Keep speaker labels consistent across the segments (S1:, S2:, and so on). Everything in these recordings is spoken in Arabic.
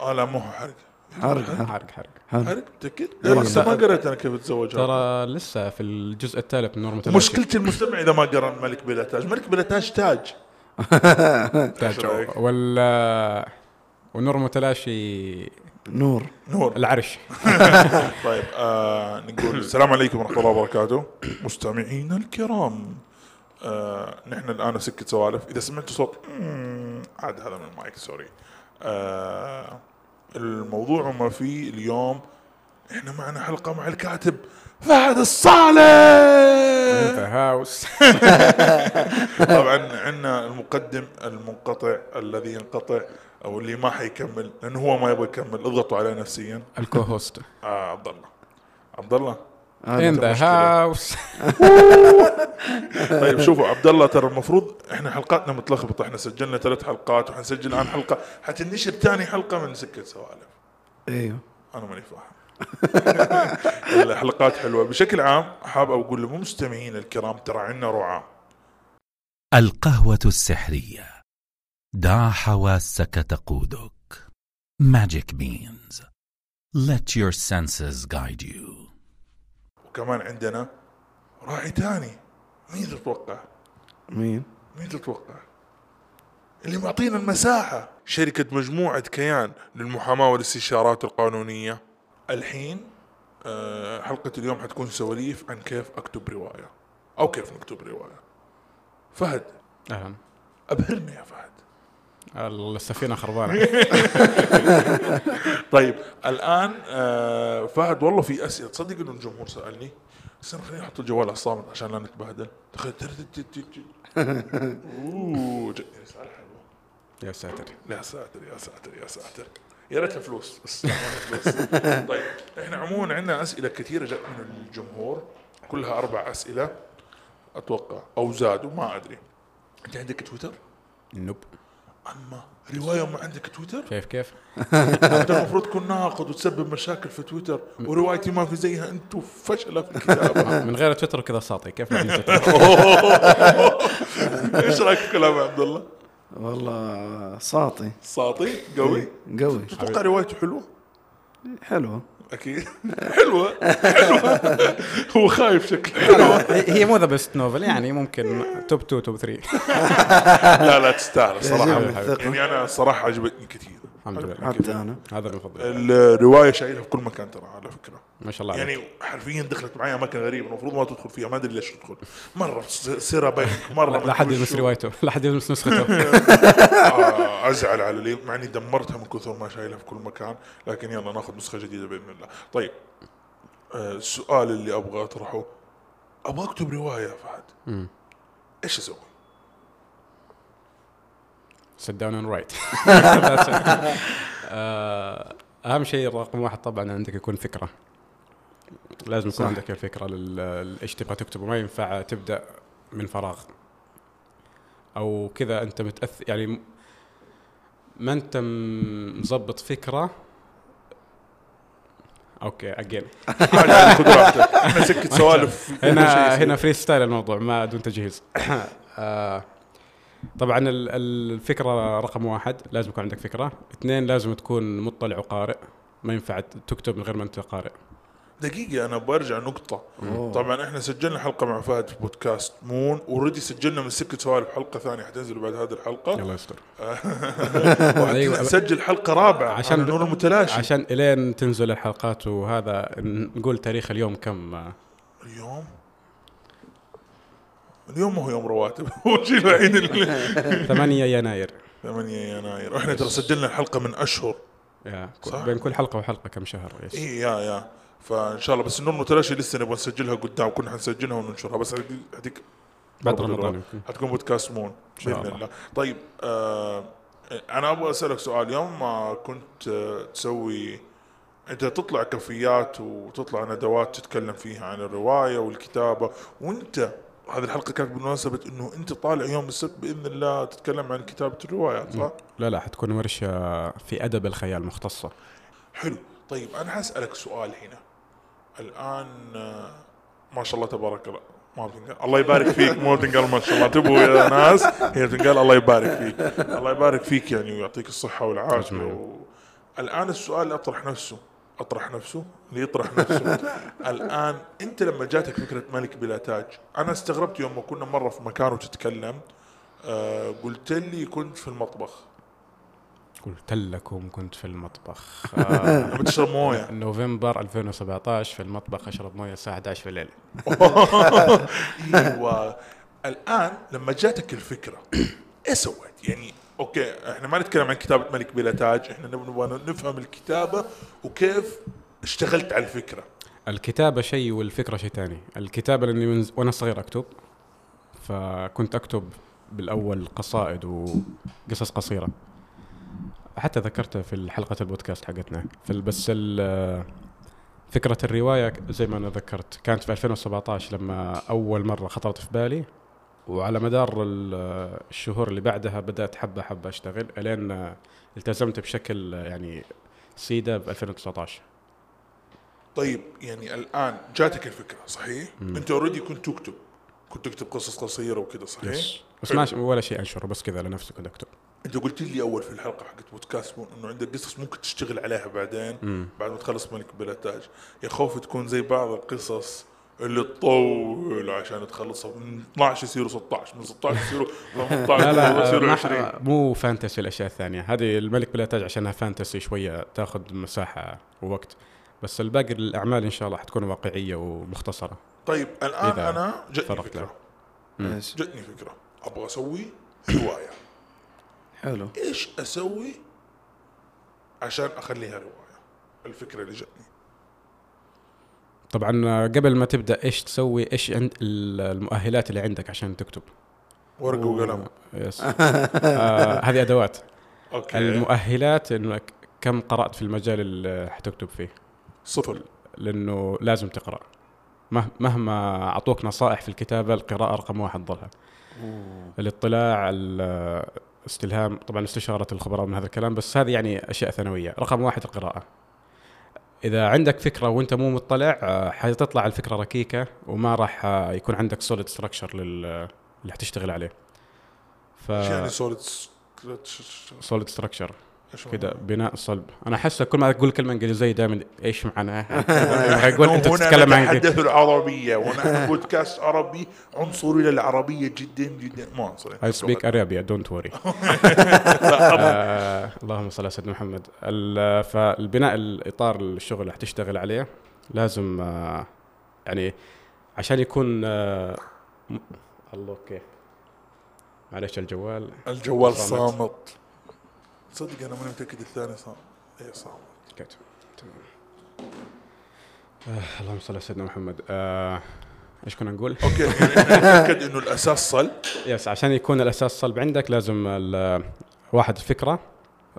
S1: اه لا مو حرق
S2: حرق حرق
S3: حرق حرق
S2: حرق
S1: حرق متاكد؟
S2: والله.
S1: إيه، لا لسه ما قريت انا كيف اتزوج هذا.
S3: ترى لسه في الجزء الثالث من نور متلاشي
S1: مشكلتي المستمع اذا ما قرا ملك بلا تاج، ملك بلا تاج تاج إيش رأيك؟
S3: تاج ولا ونور متلاشي
S2: نور
S1: نور
S3: العرش
S1: طيب آه نقول السلام عليكم ورحمه الله وبركاته مستمعينا الكرام آه نحن الان سكه سوالف اذا سمعتوا صوت مم، عاد هذا من المايك سوري آه الموضوع ما فيه اليوم احنا معنا حلقه مع الكاتب فهد
S3: انت
S1: الصالح
S3: هاوس
S1: طبعا عندنا المقدم المنقطع الذي ينقطع او اللي ما حيكمل لانه هو ما يبغى يكمل اضغطوا عليه نفسيا
S3: الكو هوست
S1: آه عبد الله عبد الله
S2: إيه،
S3: ان ذا
S1: مشكلة.
S3: هاوس
S1: طيب شوفوا عبد الله ترى المفروض احنا حلقاتنا متلخبطه احنا سجلنا ثلاث حلقات وحنسجل الان حلقه حتنشر ثاني حلقه من سكه سوالف
S2: ايوه
S1: انا ماني فاهم الحلقات حلوه بشكل عام حاب اقول لمستمعينا الكرام ترى عندنا رعاه
S4: القهوة السحرية دع حواسك تقودك Magic Beans Let your senses guide you
S1: وكمان عندنا راعي ثاني مين تتوقع؟
S2: مين؟
S1: مين تتوقع؟ اللي معطينا المساحة شركة مجموعة كيان للمحاماة والاستشارات القانونية الحين آه، حلقة اليوم حتكون سواليف عن كيف أكتب رواية أو كيف نكتب رواية فهد
S3: أهلاً.
S1: أبهرنا يا فهد
S3: السفينه خربانه
S1: طيب الآن آه، فهد والله في أسئلة تصدق إنه الجمهور سألني بس أنا خليني أحط الجوال على الصامت عشان لا نتبهدل تخيل تر- تر- تر- تر- أوه جاء سؤال حلو
S3: يا ساتر
S1: يا ساتر يا ساتر يا ساتر يا ريتها فلوس بس ما هي فلوس. طيب احنا عموما عندنا اسئله كثيره جت من الجمهور كلها اربع اسئله اتوقع او زادوا ما ادري انت عندك تويتر؟
S3: نوب
S1: اما روايه ما عندك تويتر؟
S3: كيف كيف
S1: انت المفروض تكون ناقد وتسبب مشاكل في تويتر وروايتي ما في زيها انتم فشله في الكتابه
S3: من غير تويتر كذا ساطي كيف ما عندي تويتر؟
S1: ايش رايك في كلام عبد الله؟
S2: والله ساطي
S1: ساطي قوي
S2: إيه. قوي
S1: تتوقع روايته حلوه؟
S2: حلوه
S1: اكيد حلوه حلوه هو خايف شكله
S3: هي هي مو ذا بيست نوفل يعني ممكن توب 2 توب 3
S1: لا لا تستاهل
S2: يعجبني
S1: صراحه
S2: الثقة.
S1: يعني انا صراحه عجبتني كثير
S3: الحمد لله
S2: حتى انا
S3: هذا المفضل
S1: الروايه شايلها في كل مكان ترى على فكره
S3: ما شاء الله عليك
S1: يعني حرفيا دخلت معي اماكن غريبه المفروض ما تدخل فيها ما ادري ليش تدخل مره س- سيره بنك مره
S3: لا حد
S1: مدري
S3: يلمس
S1: شو.
S3: روايته لا حد يلمس نسخته
S1: آه، ازعل على اللي مع اني دمرتها من كثر ما شايلها في كل مكان لكن يلا ناخذ نسخه جديده باذن الله طيب آه، السؤال اللي ابغى اطرحه ابغى اكتب روايه يا فهد ايش اسوي؟
S3: sit down and write آه، اهم شيء رقم واحد طبعا عندك يكون فكره لازم يكون
S2: صح.
S3: عندك الفكره لل- ايش تبغى تكتبه ما ينفع تبدا من فراغ او كذا انت متاثر يعني م- ما انت م- مظبط فكره اوكي اجين
S1: عادي، خذ راحتك احنا سكه سوالف في كل شيء
S3: هنا
S1: يصير.
S3: هنا فري ستايل الموضوع ما دون تجهيز آه، طبعا ال- الفكره رقم واحد لازم يكون عندك فكره اثنين لازم تكون مطلع وقارئ ما ينفع تكتب من غير ما انت قارئ
S1: دقيقة أنا برجع نقطة
S2: أوه.
S1: طبعا احنا سجلنا حلقة مع فهد في بودكاست مون اوريدي سجلنا من سكة سوالف حلقة ثانية حتنزل بعد هذه الحلقة
S3: الله يستر أيوة.
S1: نسجل حلقة رابعة
S3: عشان
S1: عشان نور المتلاشي
S3: عشان الين تنزل الحلقات وهذا ن- نقول تاريخ اليوم كم آه،
S1: اليوم اليوم ما هو يوم رواتب هو الشيء الوحيد اللي
S3: 8 يناير
S1: 8 يناير احنا ترى سجلنا الحلقة من اشهر
S3: يا، كو-
S1: صح. إيه.
S3: بين كل حلقه وحلقه كم شهر يس.
S1: اي يا يا فان شاء الله بس النور المتلاشي لسه نبغى نسجلها قدام كنا حنسجلها وننشرها بس هديك هديك
S3: بعد رمضان يمكن.
S1: حتكون بودكاست مون
S3: شاء
S1: باذن
S3: الله.
S1: الله طيب آه انا ابغى اسالك سؤال يوم ما كنت آه، تسوي انت تطلع كفيات وتطلع ندوات تتكلم فيها عن الروايه والكتابه وانت هذه الحلقه كانت بمناسبه انه انت طالع يوم السبت باذن الله تتكلم عن كتابه الروايات صح؟
S3: لا لا حتكون ورشه في ادب الخيال مختصه
S1: حلو طيب انا حاسالك سؤال هنا الان آه، ما شاء الله تبارك الله ما بتنقال الله يبارك فيك مو بتنقال ما شاء الله تبوا يا ناس هي بتنقال الله يبارك فيك الله يبارك فيك يعني ويعطيك الصحه والعافيه
S3: أجمعين.
S1: و... الان السؤال اللي اطرح نفسه اطرح نفسه ليطرح نفسه الان انت لما جاتك فكره ملك بلا تاج انا استغربت يوم ما كنا مره في مكان وتتكلم آه قلت لي كنت في المطبخ
S3: قلت لكم كنت في المطبخ آه،
S1: لما تشرب مويه
S3: نوفمبر 2017 في المطبخ اشرب مويه الساعه 11 في الليل
S1: ايوه الان لما جاتك الفكره ايه سويت؟ يعني اوكي احنا ما نتكلم عن كتابه ملك بلا تاج احنا نب- نبغى نفهم الكتابه وكيف اشتغلت على الفكره
S3: الكتابه شيء والفكره شيء ثاني الكتابه لاني من ز- وانا صغير اكتب فكنت اكتب بالاول قصائد وقصص قصيره حتى ذكرتها في حلقه البودكاست حقتنا في ال- بس ال- فكره الروايه ك- زي ما انا ذكرت كانت في 2017 لما اول مره خطرت في بالي وعلى مدار ال- الشهور اللي بعدها بدات حبه حبه اشتغل الين التزمت بشكل يعني سيده ب 2019
S1: طيب يعني الان جاتك الفكره صحيح؟ انت اوريدي كنت تكتب كنت تكتب قصص قصيره وكذا صحيح؟
S3: يس بس ما ولا شيء انشره بس كذا لنفسي كنت اكتب
S1: انت قلت لي اول في الحلقه حقت بودكاست مون انه عندك قصص ممكن تشتغل عليها بعدين بعد ما تخلص ملك بلا تاج يا خوف تكون زي بعض القصص اللي تطول عشان تخلصها من 12 يصيروا 16 من 16 يصيروا 18
S3: لا
S1: من
S3: لا
S1: يصيروا
S3: ما
S1: 20
S3: ح- مو فانتسي الاشياء الثانيه هذه الملك بلا تاج عشانها فانتسي شويه تاخذ مساحه ووقت بس الباقي الاعمال ان شاء الله حتكون واقعيه ومختصره
S1: طيب الان
S3: إذا
S1: انا جتني
S3: فرقت
S1: فكره
S3: لها.
S2: ايش
S1: جتني فكره ابغى اسوي روايه
S2: حلو
S1: ايش اسوي عشان اخليها روايه الفكره اللي جتني
S3: طبعا قبل ما تبدا ايش تسوي ايش عند ال- المؤهلات اللي عندك عشان تكتب
S1: ورقه وقلم
S3: يس آه هذه ادوات
S1: اوكي
S3: المؤهلات انك كم قرات في المجال اللي حتكتب فيه
S1: صفر
S3: لانه لازم تقرا مه- مهما اعطوك نصائح في الكتابه القراءه رقم واحد ظلها الاطلاع ال- استلهام طبعا استشاره الخبراء من هذا الكلام بس هذه يعني اشياء ثانويه رقم واحد القراءه اذا عندك فكره وانت مو مطلع آه، حتطلع الفكره ركيكه وما راح آه، يكون عندك سوليد ستراكشر لل اللي حتشتغل عليه ف
S1: ايش يعني سوليد
S3: سوليد ستراكشر كده بناء صلب انا احس كل ما اقول كلمه انجليزيه دائما ايش معناها؟ اقول انت
S1: هنا
S3: تتكلم عن إيه؟
S1: نتحدث العربية ونحن بودكاست عربي عنصري للعربية جدا جدا مو عنصري
S3: اي سبيك اريابيا دونت وري آه، اللهم صل على سيدنا محمد ال- فالبناء الاطار الشغل اللي حتشتغل عليه لازم آه، يعني عشان يكون آه، م- الله اوكي معلش الجوال
S1: الجوال
S3: صامت.
S1: صامت صدق انا ماني متاكد الثاني صامت ايه صامت
S3: كت- تمام آه، اللهم صل على سيدنا محمد آه، ايش كنا نقول؟
S1: اوكي يعني احنا نتاكد انه الاساس صل
S3: يس عشان يكون الاساس صلب عندك لازم ال- واحد فكره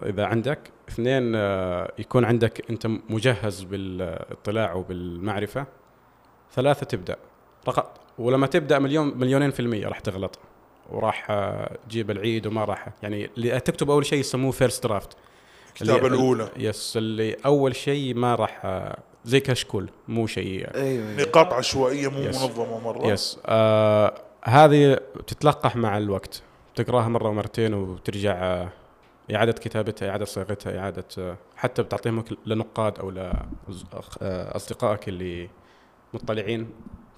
S3: اذا عندك اثنين آه، يكون عندك انت مجهز بالاطلاع وبالمعرفه ثلاثه تبدا رق- ولما تبدا مليون مليونين في الميه راح تغلط وراح آه، تجيب العيد وما راح يعني اللي تكتب اول شيء يسموه فيرست درافت
S1: الكتابة الأولى
S3: يس اللي اول شيء ما راح آه، زي كشكول مو شيء آه،
S2: ايوه ايوه
S1: نقاط عشوائية مو
S3: يس.
S1: منظمة مرة
S3: يس آه هذه تتلقح مع الوقت تقراها مره ومرتين وترجع آه اعاده كتابتها اعاده صياغتها اعاده آه حتى بتعطيهم ك- لنقاد او لاصدقائك اللي مطلعين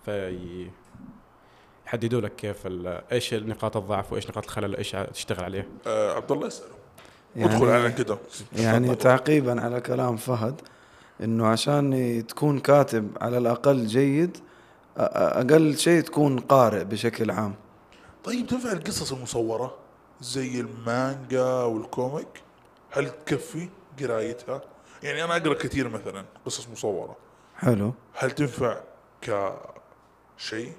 S3: في يحددوا لك كيف ال- ايش نقاط الضعف وايش نقاط الخلل ايش ع- تشتغل عليه
S1: آه عبد الله اساله
S2: يعني-
S1: ادخل على كده
S2: يعني تعقيبا على كلام فهد انه عشان تكون كاتب على الاقل جيد أ- أ- اقل شيء تكون قارئ بشكل عام
S1: طيب تنفع القصص المصورة زي المانجا والكوميك هل تكفي قرايتها؟ يعني انا اقرا كثير مثلا قصص مصورة
S2: حلو
S1: هل تنفع ك شيء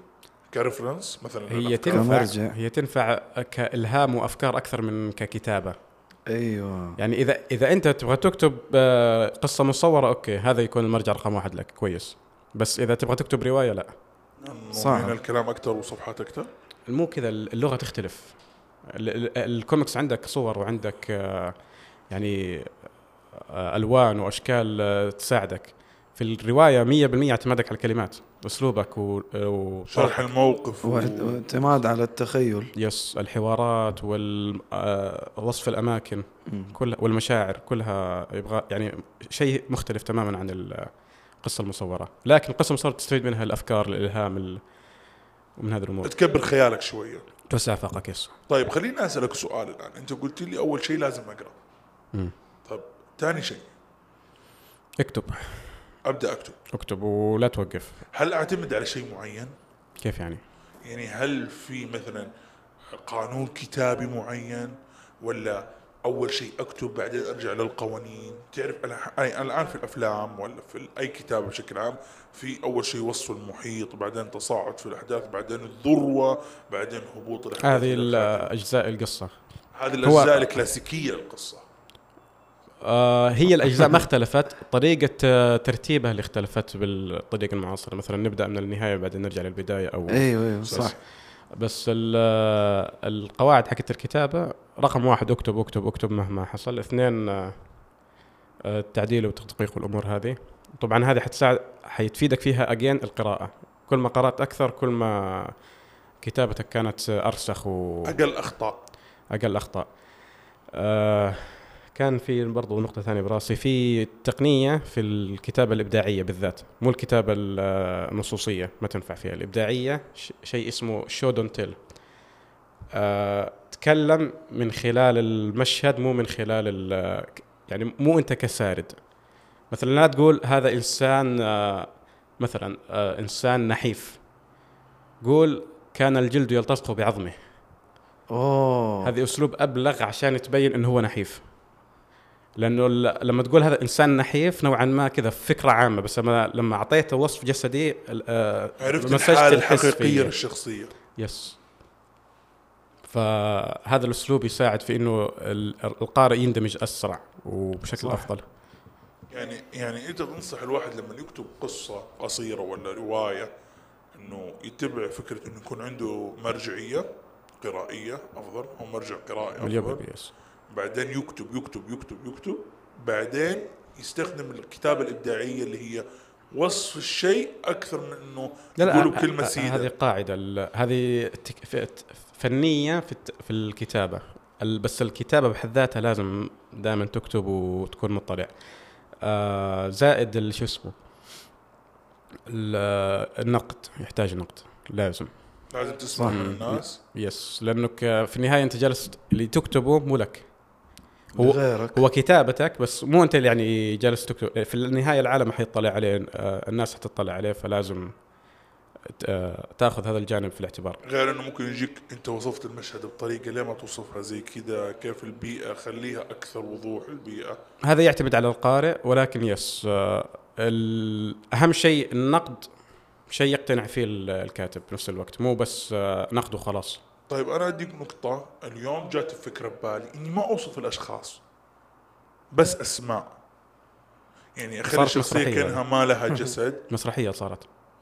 S1: كرفرنس مثلا
S3: هي
S1: للأفكار؟
S3: تنفع
S2: كمرجع.
S3: هي تنفع كالهام وافكار اكثر من ككتابه
S2: ايوه
S3: يعني اذا اذا انت تبغى تكتب آه، قصه مصوره اوكي هذا يكون المرجع رقم واحد لك كويس بس اذا تبغى تكتب روايه لا
S1: إنه
S2: صعب.
S1: من الكلام اكثر وصفحات اكثر
S3: مو كذا اللغه تختلف ال- ال- الكوميكس عندك صور وعندك آه، يعني آه، الوان واشكال آه، تساعدك في الروايه 100% اعتمادك على الكلمات اسلوبك و... آه، و...
S1: شرح الموقف و-
S2: واعتماد على التخيل
S3: يس الحوارات وال آه، وصف الاماكن
S2: مم.
S3: كلها والمشاعر كلها يبغى يعني شيء مختلف تماما عن القصه المصوره لكن القصه المصوره تستفيد منها الافكار الالهام ال... ومن هذه الامور
S1: تكبر خيالك شويه
S3: توسع افاقك يس
S1: طيب خليني اسالك سؤال الان انت قلت لي اول شيء لازم اقرا
S3: مم.
S1: طيب ثاني شيء
S3: اكتب
S1: ابدا اكتب
S3: اكتب ولا توقف
S1: هل اعتمد على شيء معين
S3: كيف يعني
S1: يعني هل في مثلا قانون كتابي معين ولا اول شيء اكتب بعدين ارجع للقوانين تعرف انا يعني الان في الافلام ولا في ال- اي كتاب بشكل عام في اول شيء وصف المحيط بعدين تصاعد في الاحداث بعدين الذروه بعدين هبوط الاحداث
S3: هذه ال- اجزاء القصه
S1: هذه
S3: هو-
S1: الاجزاء الكلاسيكيه للقصه
S3: آه، هي الاجزاء ما اختلفت طريقه آه، ترتيبها اللي اختلفت بالطريقه المعاصره مثلا نبدا من النهايه بعدين نرجع للبدايه او
S2: ايوه ايوه صح
S3: بس ال- آه، القواعد حقت الكتابه رقم واحد اكتب اكتب اكتب مهما حصل اثنين آه، آه، التعديل والتدقيق والامور هذه طبعا هذه حتساعد حتفيدك فيها اجين القراءه كل ما قرات اكثر كل ما كتابتك كانت آه، ارسخ و...
S1: اقل اخطاء
S3: اقل اخطاء آه كان في برضو نقطة ثانية براسي في تقنية في الكتابة الإبداعية بالذات مو الكتابة ال- آه، النصوصية ما تنفع فيها الإبداعية ش- شيء اسمه شو دون تيل آه تكلم من خلال المشهد مو من خلال ال- يعني مو أنت كسارد مثلا لا تقول هذا إنسان آه مثلا آه إنسان نحيف قول كان الجلد يلتصق بعظمه
S2: اوه
S3: هذه اسلوب ابلغ عشان تبين انه هو نحيف لانه ال- لما تقول هذا انسان نحيف نوعا ما كذا فكره عامه بس لما لما اعطيته وصف جسدي ال- آه،
S1: عرفت
S3: مسجت
S1: الحاله
S3: الحس
S1: الحقيقيه
S3: فيه.
S1: للشخصيه
S3: يس فهذا الاسلوب يساعد في انه ال- القارئ يندمج اسرع وبشكل
S2: صح.
S3: صح. افضل
S1: يعني يعني انت تنصح الواحد لما يكتب قصه قصيره ولا روايه انه يتبع فكره انه يكون عنده مرجعيه قرائيه افضل او مرجع قرائي
S3: مليون
S1: افضل
S3: بالمية يس
S1: بعدين يكتب يكتب يكتب يكتب بعدين يستخدم الكتابه الابداعيه اللي هي وصف الشيء اكثر من انه يقولوا بكلمه
S3: هذه
S1: سيده
S3: قاعده ال- هذه تك- ف- فنيه في الت- في الكتابه ال- بس الكتابه بحد ذاتها لازم دائما تكتب وتكون مطلع آه، زائد ال- شو اسمه ال- النقد يحتاج نقد لازم
S1: لازم تسمع من الناس
S3: يس لانك آه، في النهايه انت جالس اللي تكتبه مو لك هو-
S2: غيرك
S3: هو كتابتك بس مو انت اللي يعني جالس تكتب في النهايه العالم حيطلع عليه آه، الناس حتطلع عليه فلازم ت- آه، تاخذ هذا الجانب في الاعتبار
S1: غير انه ممكن يجيك انت وصفت المشهد بطريقه ليه ما توصفها زي كذا كيف البيئه خليها اكثر وضوح البيئه
S3: هذا يعتمد على القارئ ولكن يس آه، ال- اهم شيء النقد شيء يقتنع فيه ال- الكاتب بنفس الوقت مو بس آه، نقده خلاص
S1: طيب انا اديك نقطة اليوم جات الفكرة ببالي اني ما اوصف الاشخاص بس اسماء يعني اخلي
S3: صارت
S1: الشخصية
S3: مسرحية.
S1: كانها ما لها جسد
S3: مسرحيه صارت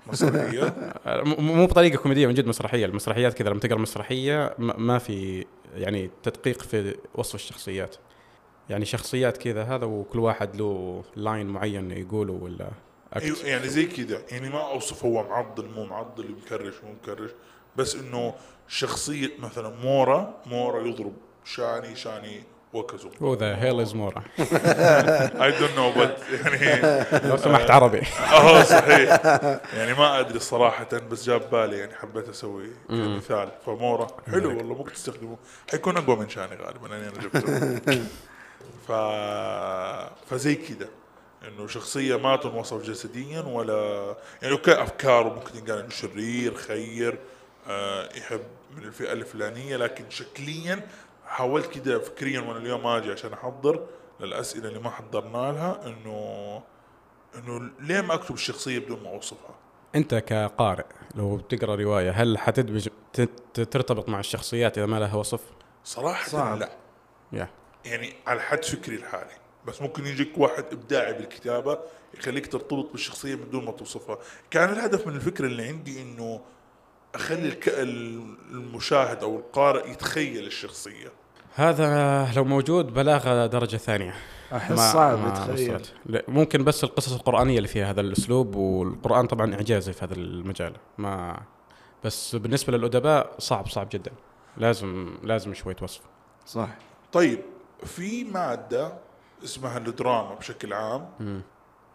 S1: مسرحية
S3: آه، م- مو بطريقه كوميديه من جد مسرحيه المسرحيات كذا لما تقرا مسرحيه ما ما في يعني تدقيق في وصف الشخصيات يعني شخصيات كذا هذا وكل واحد له لاين معين يقوله ولا
S1: أيوة،
S3: أكت.
S1: يعني زي كذا يعني ما اوصف هو معضل مو معضل مكرش مو مكرش بس انه شخصية مثلا مورا مورا يضرب شاني شاني وكزو
S3: هو ذا هيل از مورا
S1: اي دونت نو بس يعني
S3: لو سمحت عربي
S1: اه صحيح يعني ما ادري صراحة بس جاب بالي يعني حبيت اسوي مثال فمورا حلو والله ممكن تستخدمه حيكون اقوى من شاني غالبا لاني انا جبته ف فزي كذا انه شخصية ما تنوصف جسديا ولا يعني اوكي افكاره ممكن ينقال انه شرير خير آه يحب من الفئة الفلانية لكن شكليا حاولت كذا فكريا وانا اليوم اجي عشان احضر للاسئلة اللي ما حضرنا لها انه انه ليه ما اكتب الشخصيه بدون ما اوصفها؟
S3: انت كقارئ لو بتقرا روايه هل حتدمج ت- ترتبط مع الشخصيات اذا ما لها وصف؟
S1: صراحه
S2: صعب.
S1: لا
S3: يا
S1: يعني على حد فكري الحالي بس ممكن يجيك واحد ابداعي بالكتابه يخليك ترتبط بالشخصيه من دون ما توصفها، كان الهدف من الفكره اللي عندي انه اخلي الك... المشاهد او القارئ يتخيل الشخصيه
S3: هذا لو موجود بلاغه درجه ثانيه
S2: احس
S3: ما-
S2: صعب
S3: ما
S2: تخيل
S3: وصلت. لا، ممكن بس القصص القرآنية اللي فيها هذا الأسلوب والقرآن طبعا إعجازي في هذا المجال ما بس بالنسبة للأدباء صعب صعب جدا لازم لازم شوية وصف
S2: صح
S1: طيب في ماده اسمها الدراما بشكل عام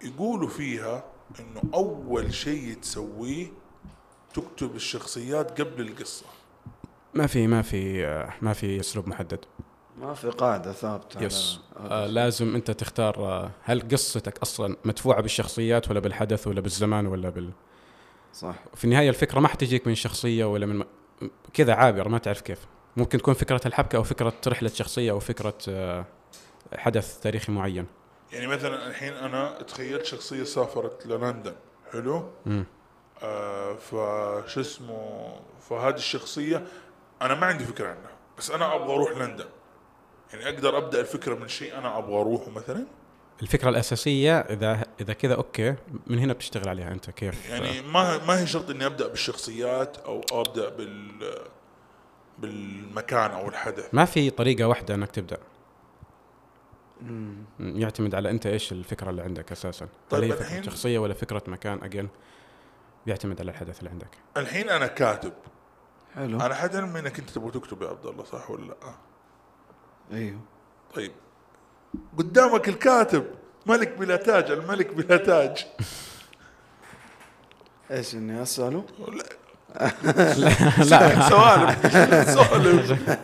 S1: يقولوا فيها انه اول شيء تسويه تكتب الشخصيات قبل القصه
S3: ما في ما في آه، ما في أسلوب محدد
S2: ما في قاعده ثابته
S3: يس
S2: على-
S3: آه، لازم أنت تختار آه، هل قصتك أصلا مدفوعة بالشخصيات ولا بالحدث ولا بالزمان ولا بال
S2: صح
S3: في النهاية الفكرة ما حتجيك من شخصية ولا من م... كذا عابر ما تعرف كيف ممكن تكون فكرة الحبكة أو فكرة رحلة شخصية أو فكرة آه، حدث تاريخي معين
S1: يعني مثلا الحين انا تخيلت شخصيه سافرت للندن حلو
S3: مم.
S1: آه فش اسمه فهذه الشخصيه انا ما عندي فكره عنها بس انا ابغى اروح لندن يعني اقدر ابدا الفكره من شيء انا ابغى اروحه مثلا
S3: الفكره الاساسيه اذا اذا كذا اوكي من هنا بتشتغل عليها انت كيف
S1: يعني ما ما هي شرط اني ابدا بالشخصيات او ابدا بال بالمكان او الحدث
S3: ما في طريقه واحده انك تبدا م، يعتمد على انت ايش الفكره اللي عندك اساسا
S1: طيب
S3: هل هي
S1: الحين-
S3: فكره شخصيه ولا فكره مكان اجين يعتمد على الحدث اللي عندك
S1: الحين انا كاتب
S2: حلو
S3: آه.
S1: انا حد علمي انك انت تبغى تكتب يا عبد الله صح ولا لا؟
S2: ايوه
S1: طيب قدامك الكاتب ملك بلا تاج الملك بلا تاج
S2: ايش اني اساله؟
S3: لا
S1: سوالف سوالف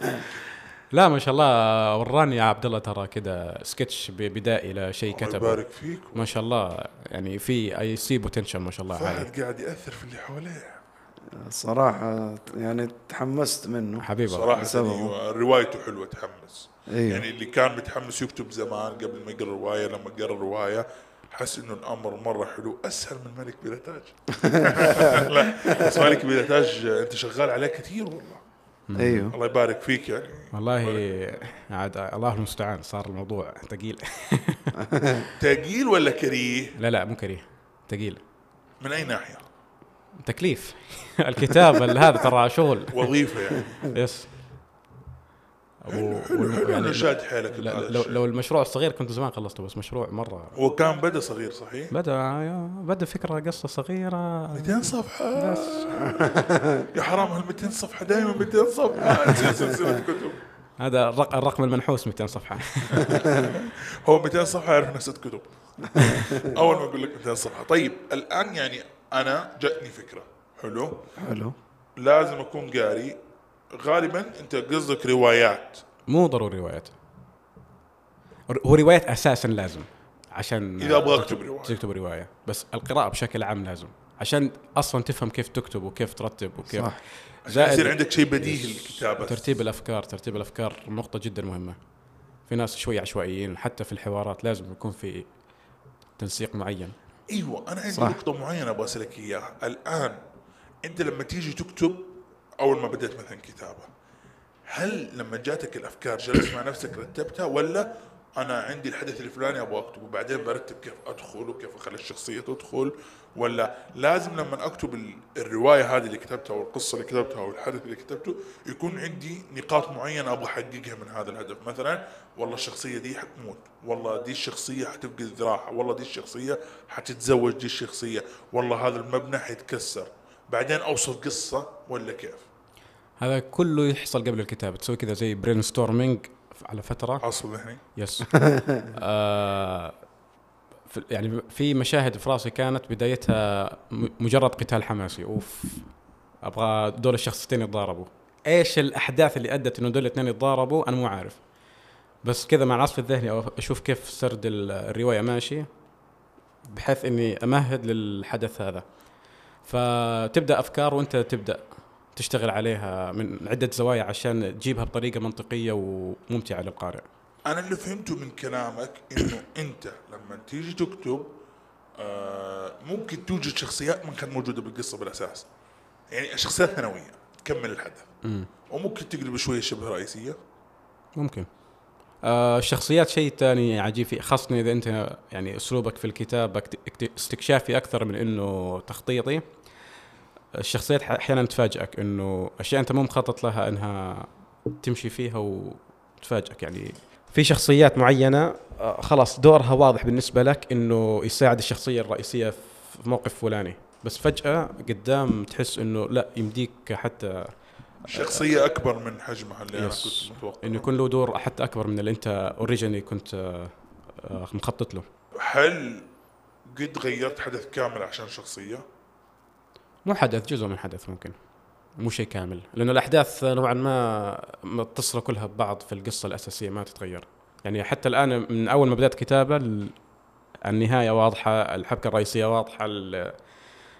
S3: لا ما شاء الله وراني يا عبد الله ترى كذا سكتش ب- بدائي لشيء
S1: الله
S3: كتبه
S1: يبارك فيك
S3: ما شاء الله يعني في اي سي بوتنشل ما شاء الله عالي
S1: فهد قاعد ياثر في اللي حواليه
S2: صراحه يعني تحمست منه
S3: حبيبي
S1: صراحه
S2: بسببه.
S1: أيوة، روايته حلوه تحمس
S2: ايوه
S1: يعني اللي كان متحمس يكتب زمان قبل ما يقرا روايه لما قرا روايه حس انه الامر مره حلو اسهل من ملك بلا تاج لا بس ملك بلا تاج انت شغال عليه كثير والله
S2: ايوه
S3: يعني
S1: الله يبارك فيك يعني
S3: والله عاد الله المستعان صار الموضوع ثقيل
S1: تقيل ولا كريه
S3: لا لا مو كريه ثقيل
S1: من اي ناحيه
S3: تكليف الكتاب ال- هذا ترى شغل
S1: وظيفه يعني
S3: يس و-
S1: حلو حلو
S3: يعني
S1: انا شاد حيلك
S3: لا-
S1: بهذا
S3: لو
S1: الشيء.
S3: لو المشروع صغير كنت زمان خلصته بس مشروع مره
S1: هو كان بدا صغير صحيح
S3: بدا بدا فكره قصه صغيره
S1: 200 صفحه يا حرام هال 200 صفحه دائما 200 صفحه تصير سلسله كتب
S3: هذا الرق- الرقم المنحوس 200 صفحه
S1: هو 200 صفحه يعرف نفسه كتب اول ما اقول لك 200 صفحه طيب الان يعني انا جاتني فكره حلو
S2: حلو
S1: لازم اكون قاري غالبا انت قصدك روايات
S3: مو ضروري روايات ر- هو روايات اساسا لازم عشان
S1: إذا أبغى أكتب رواية.
S3: تكتب روايه بس القراءه بشكل عام لازم عشان اصلا تفهم كيف تكتب وكيف ترتب وكيف
S2: صح.
S1: يصير عندك شيء بديهي للكتابه
S3: ترتيب الافكار ترتيب الافكار نقطه جدا مهمه في ناس شوي عشوائيين حتى في الحوارات لازم يكون في تنسيق معين
S1: ايوه انا عندي
S2: صح.
S1: نقطه معينه ابغى اسالك اياها الان انت لما تيجي تكتب اول ما بدأت مثلا كتابه هل لما جاتك الافكار جلست مع نفسك رتبتها ولا انا عندي الحدث الفلاني ابغى اكتبه وبعدين برتب كيف ادخل وكيف اخلي الشخصيه تدخل ولا لازم لما اكتب ال- الروايه هذه اللي كتبتها او القصه اللي كتبتها او الحدث اللي كتبته يكون عندي نقاط معينه ابغى احققها من هذا الهدف مثلا والله الشخصيه دي حتموت والله دي الشخصيه حتفقد ذراعها والله دي الشخصيه حتتزوج دي الشخصيه والله هذا المبنى حيتكسر بعدين اوصف قصه ولا كيف
S3: هذا كله يحصل قبل الكتابه تسوي كذا زي برين ستورمينج على فتره
S1: حاصل ذهني
S3: يس آه في- يعني في مشاهد في راسي كانت بدايتها م- مجرد قتال حماسي اوف ابغى دول الشخصيتين يتضاربوا ايش الاحداث اللي ادت انه دول الاثنين يتضاربوا انا مو عارف بس كذا مع العصف الذهني أو اشوف كيف سرد ال- الروايه ماشي بحيث اني امهد للحدث هذا فتبدا افكار وانت تبدا تشتغل عليها من عده زوايا عشان تجيبها بطريقه منطقيه وممتعه للقارئ
S1: انا اللي فهمته من كلامك انه انت لما تيجي تكتب آه، ممكن توجد شخصيات ما كانت موجوده بالقصه بالاساس يعني شخصيات ثانويه تكمل الحدث وممكن تقلب شويه شبه رئيسيه
S3: ممكن آه، الشخصيات شيء ثاني عجيب فيه خاصة إذا أنت يعني أسلوبك في الكتابة اكت- اكت- استكشافي أكثر من إنه تخطيطي الشخصيات ح- أحيانا تفاجئك إنه أشياء أنت مو مخطط لها إنها تمشي فيها و... تفاجئك يعني في شخصيات معينه آه، خلاص دورها واضح بالنسبه لك انه يساعد الشخصيه الرئيسيه في موقف فلاني بس فجاه قدام تحس انه لا يمديك حتى
S1: شخصية أكبر من حجمها اللي أنا
S3: يس.
S1: كنت متوقع
S3: انه يكون له دور حتى اكبر من اللي انت اوريجيني كنت آه، آه، مخطط له
S1: هل قد غيرت حدث كامل عشان شخصية؟
S3: مو حدث جزء من حدث ممكن مو شيء كامل لانه الاحداث نوعا ما متصله كلها ببعض في القصه الاساسيه ما تتغير يعني حتى الان من اول ما بدات كتابه ال- النهايه واضحه الحبكه الرئيسيه واضحه ال-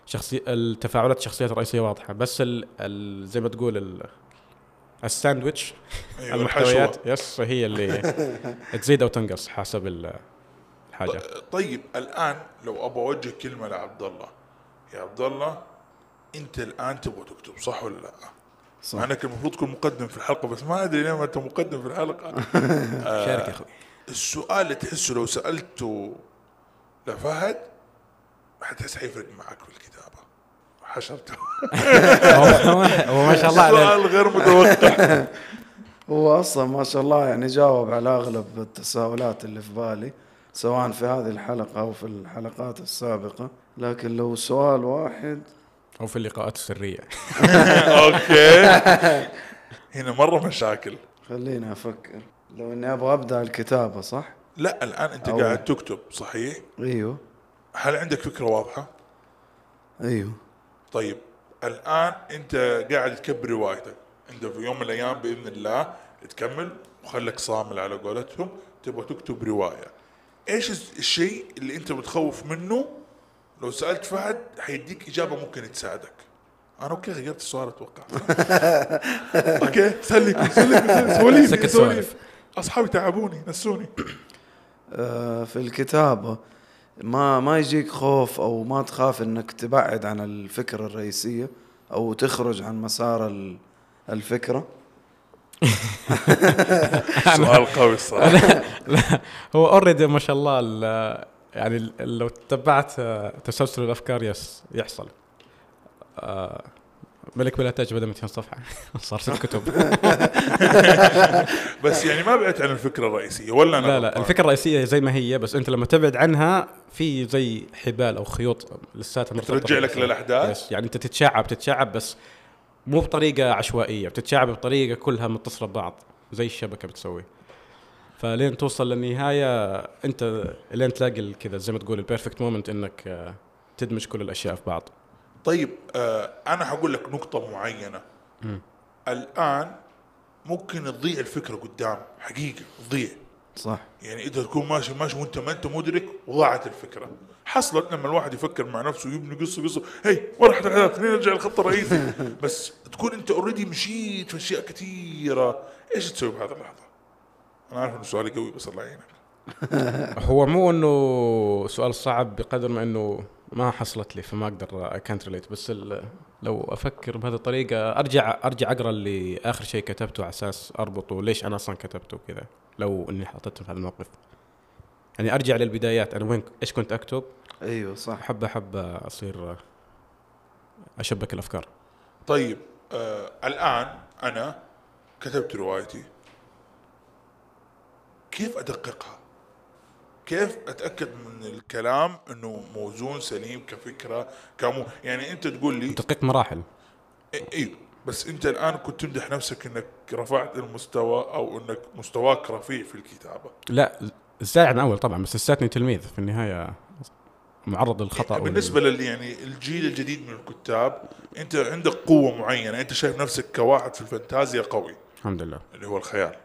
S3: شخصي التفاعلات الشخصيات الرئيسيه واضحه بس ال... ال... زي ما تقول ال... الساندويتش
S1: أيوة،
S3: المحتويات
S1: الحشوة.
S3: يس هي اللي تزيد او تنقص حسب ال- الحاجه
S1: طيب الآن لو أبغى أوجه كلمة لعبد الله يا عبد الله أنت الآن تبغى تكتب صح ولا لا؟
S2: صح
S1: مع انك المفروض تكون مقدم في الحلقه بس ما ادري ليه ما انت مقدم في الحلقه
S3: شارك يا اخوي
S1: السؤال اللي تحسه لو سالته لفهد حتحس حيفرق معك في الكتابه حشرته
S3: هو هو ما شاء الله عليه
S1: سؤال غير متوقع
S2: هو اصلا ما شاء الله يعني جاوب على اغلب التساؤلات اللي في بالي سواء في هذه الحلقه او في الحلقات السابقه لكن لو سؤال واحد
S3: او في اللقاءات السريه
S1: اوكي هنا مره مشاكل
S2: خليني افكر لو اني ابغى ابدا الكتابه صح
S1: لا الان انت
S2: أو-
S1: قاعد تكتب صحيح
S2: ايوه
S1: هل عندك فكره واضحه
S2: ايوه
S1: طيب الان انت قاعد تكبر روايتك انت في يوم من الايام باذن الله تكمل وخلك صامل على قولتهم تبغى تكتب روايه ايش الس- الشيء اللي انت متخوف منه لو سالت فهد حيديك اجابه ممكن تساعدك انا اوكي غيرت السؤال اتوقع اوكي سلك سلك سواليف
S3: سكت
S1: سواليف
S3: سوالف.
S1: اصحابي تعبوني نسوني
S2: آه، في الكتابة ما ما يجيك خوف او ما تخاف انك تبعد عن الفكرة الرئيسية او تخرج عن مسار ال- الفكرة
S1: سؤال قوي الصراحه
S3: لا هو اوريدي ما شاء الله ال- يعني ال- لو تتبعت آه، تسلسل الافكار يس يحصل آه، ملك بلا تاج بدا 200 صفحه صار ست كتب
S1: بس يعني ما بعدت عن الفكره الرئيسيه ولا انا
S3: لا لا
S1: غلطان؟
S3: الفكره الرئيسيه زي ما هي بس انت لما تبعد عنها في زي حبال او خيوط لساتها مرتبطة
S1: ترجع لك
S3: بالأحداث.
S1: للأحداث؟
S3: يس، يعني انت تتشعب تتشعب بس مو بطريقه عشوائيه بتتشعب بطريقه كلها متصله ببعض زي الشبكه بتسوي فلين توصل للنهايه انت لين تلاقي كذا زي ما تقول البيرفكت مومنت انك آه، تدمج كل الاشياء في بعض
S1: طيب آه انا حقول لك نقطة معينة الان ممكن تضيع الفكرة قدام حقيقة تضيع
S2: صح
S1: يعني انت تكون ماشي ماشي وانت ما انت مدرك وضاعت الفكرة حصلت لما الواحد يفكر مع نفسه ويبني قصة قصة هي وين راحت الاحداث خلينا نرجع للخط الرئيسي بس تكون انت اوريدي مشيت في اشياء كثيرة ايش تسوي بهذا اللحظة؟ انا عارف انه سؤالي قوي بس الله يعينك
S3: هو مو انه سؤال صعب بقدر ما انه ما حصلت لي فما اقدر اي كانت ريليت بس ال- لو افكر بهذه الطريقه ارجع ارجع اقرا اللي اخر شيء كتبته على اساس اربطه ليش انا اصلا كتبته كذا لو اني حطيته في هذا الموقف يعني ارجع للبدايات انا وين ايش كنت اكتب
S2: ايوه صح
S3: حبه حبه اصير اشبك الافكار
S1: طيب آه الآن أنا كتبت روايتي كيف أدققها؟ كيف أتأكد من الكلام أنه موزون سليم كفكرة كمو يعني أنت تقول لي
S3: دقيق مراحل
S1: إيه، إيه بس أنت الآن كنت تمدح نفسك أنك رفعت المستوى أو أنك مستواك رفيع في الكتابة
S3: لا الزايد عن اول طبعا بس لساتني تلميذ في النهايه معرض للخطا
S1: بالنسبة لل يعني الجيل الجديد من الكتاب أنت عندك قوة معينة أنت شايف نفسك كواحد في الفانتازيا قوي
S3: الحمد لله
S1: اللي هو الخيال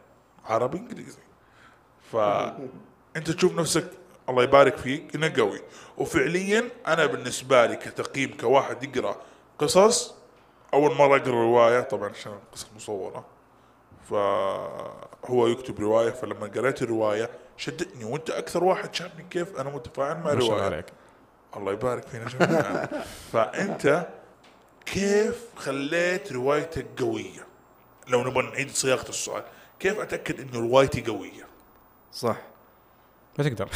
S1: عربي انجليزي فانت تشوف نفسك الله يبارك فيك انك قوي وفعليا انا بالنسبه لي كتقييم كواحد يقرا قصص اول مره اقرا روايه طبعا عشان القصص مصوره فهو يكتب روايه فلما قريت الروايه شدتني وانت اكثر واحد شافني كيف انا متفاعل مع
S3: ما شاء الله
S1: الروايه
S3: عليك
S1: الله يبارك فينا جميعا فانت كيف خليت روايتك قويه؟ لو نبغى نعيد صياغه السؤال، كيف اتاكد انه روايتي قويه؟
S2: صح
S3: ما تقدر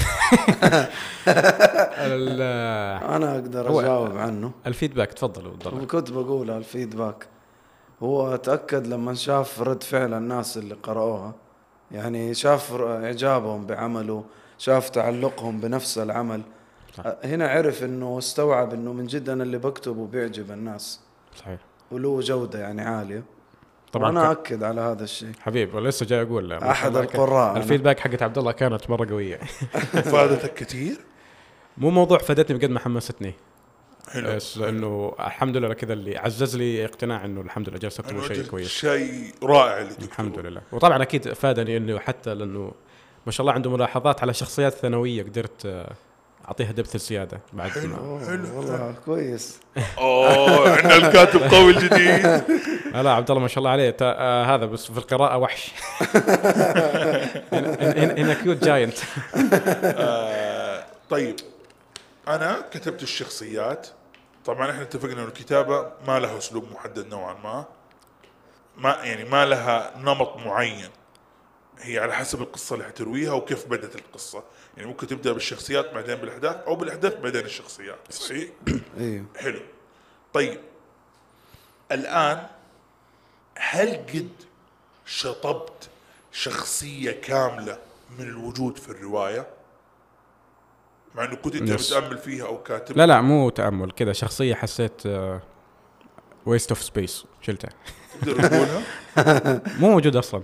S3: ال-
S2: انا اقدر
S3: هو-
S2: اجاوب عنه
S3: الفيدباك تفضل تفضل
S2: وكنت بقول على الفيدباك هو تاكد لما شاف رد فعل الناس اللي قرأوها يعني شاف إعجابهم بعمله شاف تعلقهم بنفس العمل
S3: صح.
S2: هنا عرف أنه استوعب أنه من جد أنا اللي بكتبه بيعجب الناس
S3: صحيح
S2: وله جودة يعني عالية طبعا
S3: طبعا
S2: أنا
S3: ك-
S2: أكد على هذا الشيء
S3: حبيب ولسه جاي اقول ما شاء
S2: أحد
S3: الله كان-
S2: القراء أنا.
S3: الفيدباك حقت عبد الله كانت مره قويه
S1: فادتك كثير
S3: مو موضوع فادتني بقد ما حمستني
S1: حلو
S3: بس انه الحمد لله كذا اللي عزز لي اقتناع انه الحمد لله جالس اكتب
S1: إنه
S3: شيء
S1: أنت
S3: كويس
S1: شيء رائع اللي تكتبه.
S3: الحمد لله وطبعا اكيد فادني انه حتى لانه ما شاء الله عنده ملاحظات على شخصيات ثانويه قدرت آه، اعطيها دبث زياده بعد ما
S2: أوه، والله كويس
S1: اوه عندنا الكاتب قوي الجديد
S3: لا لا عبد الله ما شاء الله عليه تا- آه هذا بس في القراءه وحش هنا- هنا هنا كيوت جاينت
S1: آه، طيب انا كتبت الشخصيات طبعا احنا اتفقنا انه الكتابه ما لها اسلوب محدد نوعا ما ما يعني ما لها نمط معين هي على حسب القصه اللي حترويها وكيف بدات القصه يعني ممكن تبدا بالشخصيات بعدين بالاحداث او بالاحداث بعدين الشخصيات صحيح
S2: أيوه
S1: حلو طيب الآن هل قد شطبت شخصية كاملة من الوجود في الرواية؟ مع انه كنت انت
S3: يس.
S1: متامل فيها او كاتب
S3: لا لا مو تامل كذا شخصيه حسيت آه، ويست اوف سبيس شلتها
S1: تقدر تقولها
S3: مو موجود اصلا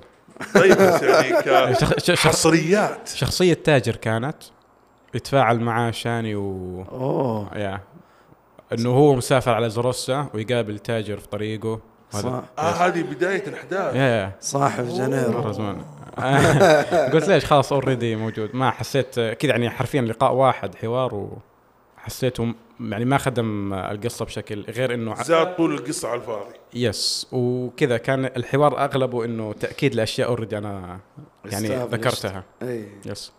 S1: طيب بس يعني ك-
S3: شخ- شخ- شخ-
S1: حصريات
S3: شخصيه تاجر كانت يتفاعل معاه شاني و
S2: أوه
S3: يا انه هو مسافر على زروسا ويقابل تاجر في طريقه
S2: صح.
S3: هذا
S1: اه هذه بداية الاحداث
S3: يا يا
S2: صاحب جنيرو
S3: مره زمان قلت ليش خلاص اوريدي موجود ما حسيت كذا يعني حرفيا لقاء واحد حوار وحسيته م- يعني ما خدم القصه بشكل غير انه ع-
S1: زاد طول القصة على الفاضي
S3: يس وكذا كان الحوار اغلبه انه تاكيد لاشياء اوريدي انا يعني
S2: Established. إيه.
S3: ذكرتها
S2: اي
S3: يس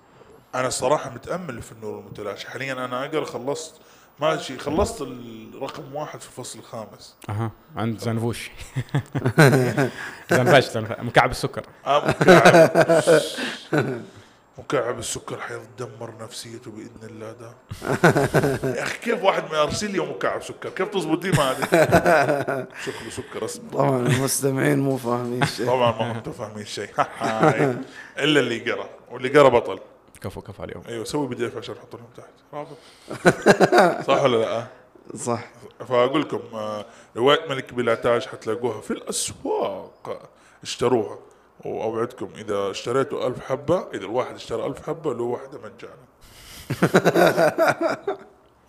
S1: انا صراحة متامل في النور المتلاشى حاليا انا اقرا خلصت ماشي خلصت الرقم واحد في الفصل الخامس
S3: اها عند زنفوش زنفاش زنفاش مكعب السكر
S1: آه، مكعب مكعب السكر حيدمر نفسيته باذن الله ده يا اخي كيف واحد ما يرسل لي مكعب سكر كيف تظبط دي مع دي شكله سكر اسمر
S2: طبعا المستمعين مو فاهمين شيء
S1: طبعا ما انتم فاهمين شيء الا اللي يقرا واللي قرا بطل
S3: كفو كفو اليوم
S1: ايوه سوي بدي اف عشان احط لهم تحت رابط صح ولا لا
S2: صح
S1: فاقول لكم آه، روايه ملك بلا تاج حتلاقوها في الاسواق اشتروها واوعدكم اذا اشتريتوا ألف حبه اذا الواحد اشترى ألف حبه له واحده مجانا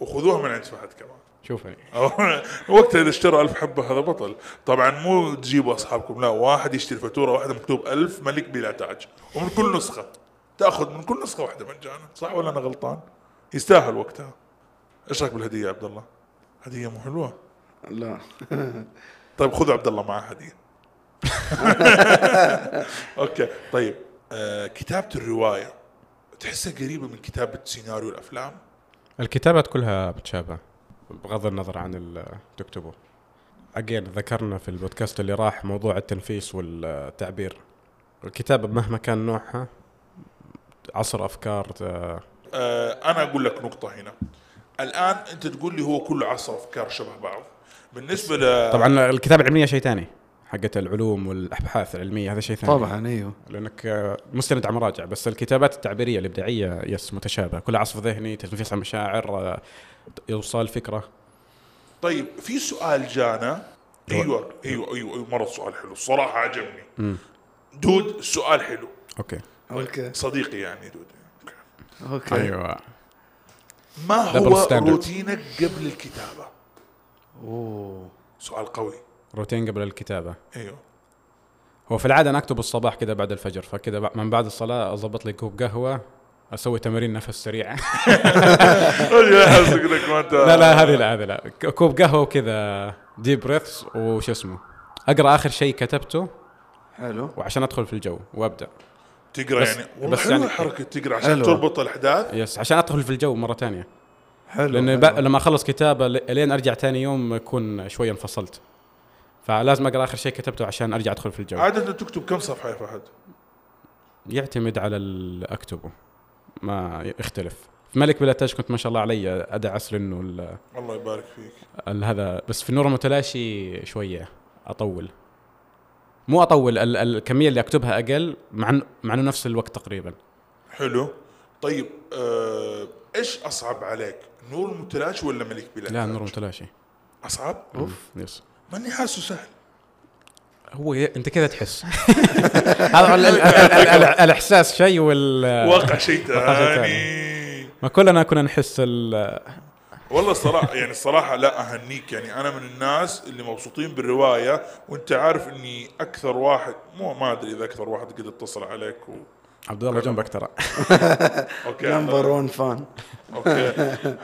S1: وخذوها من عند فهد كمان
S3: شوفني
S1: أو- وقتها اذا اشترى ألف حبه هذا بطل طبعا مو تجيبوا اصحابكم لا واحد يشتري فاتوره واحده مكتوب ألف ملك بلا تاج ومن كل نسخه تاخذ من كل نسخه واحده مجانا صح ولا انا غلطان يستاهل وقتها ايش رايك بالهديه يا عبد الله هديه مو حلوه
S2: لا
S1: طيب خذ عبد الله معاه هديه اوكي طيب آه كتابه الروايه تحسها قريبه من كتابه سيناريو الافلام
S3: الكتابات كلها متشابهه بغض النظر عن اللي تكتبه اجين ذكرنا في البودكاست اللي راح موضوع التنفيس والتعبير الكتابه مهما كان نوعها عصر افكار آه،
S1: آه انا اقول لك نقطه هنا الان انت تقول لي هو كله عصر افكار شبه بعض بالنسبه ل
S3: طبعا الكتابه العلميه شيء ثاني حقت العلوم والابحاث العلميه هذا شيء ثاني
S2: طبعا ايوه
S3: لانك آه، مستند على مراجع بس الكتابات التعبيريه الابداعيه يس متشابهه كلها عصف ذهني تنفيس عن مشاعر آه، اوصال فكره
S1: طيب في سؤال جانا ايوه ايوه ايوه, أيوة مره سؤال حلو الصراحه عجبني دود سؤال حلو
S3: اوكي
S2: اوكي
S1: صديقي يعني دود أوكي.
S2: اوكي
S3: ايوه
S1: ما
S3: Double
S1: هو
S3: standard.
S1: روتينك قبل الكتابه
S2: اوه
S1: سؤال قوي
S3: روتين قبل الكتابه
S1: ايوه
S3: هو في العاده انا اكتب الصباح كذا بعد الفجر فكذا بع- من بعد الصلاه اضبط لي كوب قهوه اسوي تمارين نفس سريعه
S1: يا حسك انك ما انت
S3: لا لا هذه لا هذه لا ك- كوب قهوه وكذا ديب بريثس وش اسمه اقرا اخر شيء كتبته
S2: حلو
S3: وعشان ادخل في الجو وابدا
S1: تقرا
S3: بس-
S1: يعني والله
S3: بس
S1: حلوه
S3: يعني-
S1: حركه تقرا عشان
S2: حلوة.
S1: تربط الاحداث
S3: يس عشان ادخل في الجو مره ثانيه
S2: حلو
S3: لان
S2: حلو.
S3: ب... لما اخلص كتابه ل- لين ارجع ثاني يوم اكون شويه انفصلت فلازم اقرا اخر شيء كتبته عشان ارجع ادخل في الجو
S1: عاده تكتب كم صفحه يا فهد؟
S3: يعتمد على اللي اكتبه ما يختلف في ملك بلا تاج كنت ما شاء الله علي ادعس لانه ال-
S1: الله يبارك فيك
S3: ال- هذا بس في النور المتلاشي شويه اطول مو اطول ال- ال- الكميه اللي اكتبها اقل مع إن- مع انه نفس الوقت تقريبا
S1: حلو طيب آه، ايش اصعب عليك؟ نور المتلاشي ولا ملك بلاد؟
S3: لا النور متلاشي
S1: اصعب؟
S3: اوف يس
S1: ماني حاسه سهل
S3: هو ي- انت كذا تحس هذا ال- ال- ال- ال- ال- الاحساس شيء وال
S1: واقع شيء
S3: آه. واقع شيء
S1: ثاني
S3: ما كلنا كنا نحس ال-
S1: والله الصراحه يعني الصراحه لا اهنيك يعني انا من الناس اللي مبسوطين بالروايه وانت عارف اني اكثر واحد مو ما ادري اذا اكثر واحد قد اتصل عليك و...
S3: عبد الله جنبك ترى
S1: اوكي
S2: نمبر 1 فان
S1: اوكي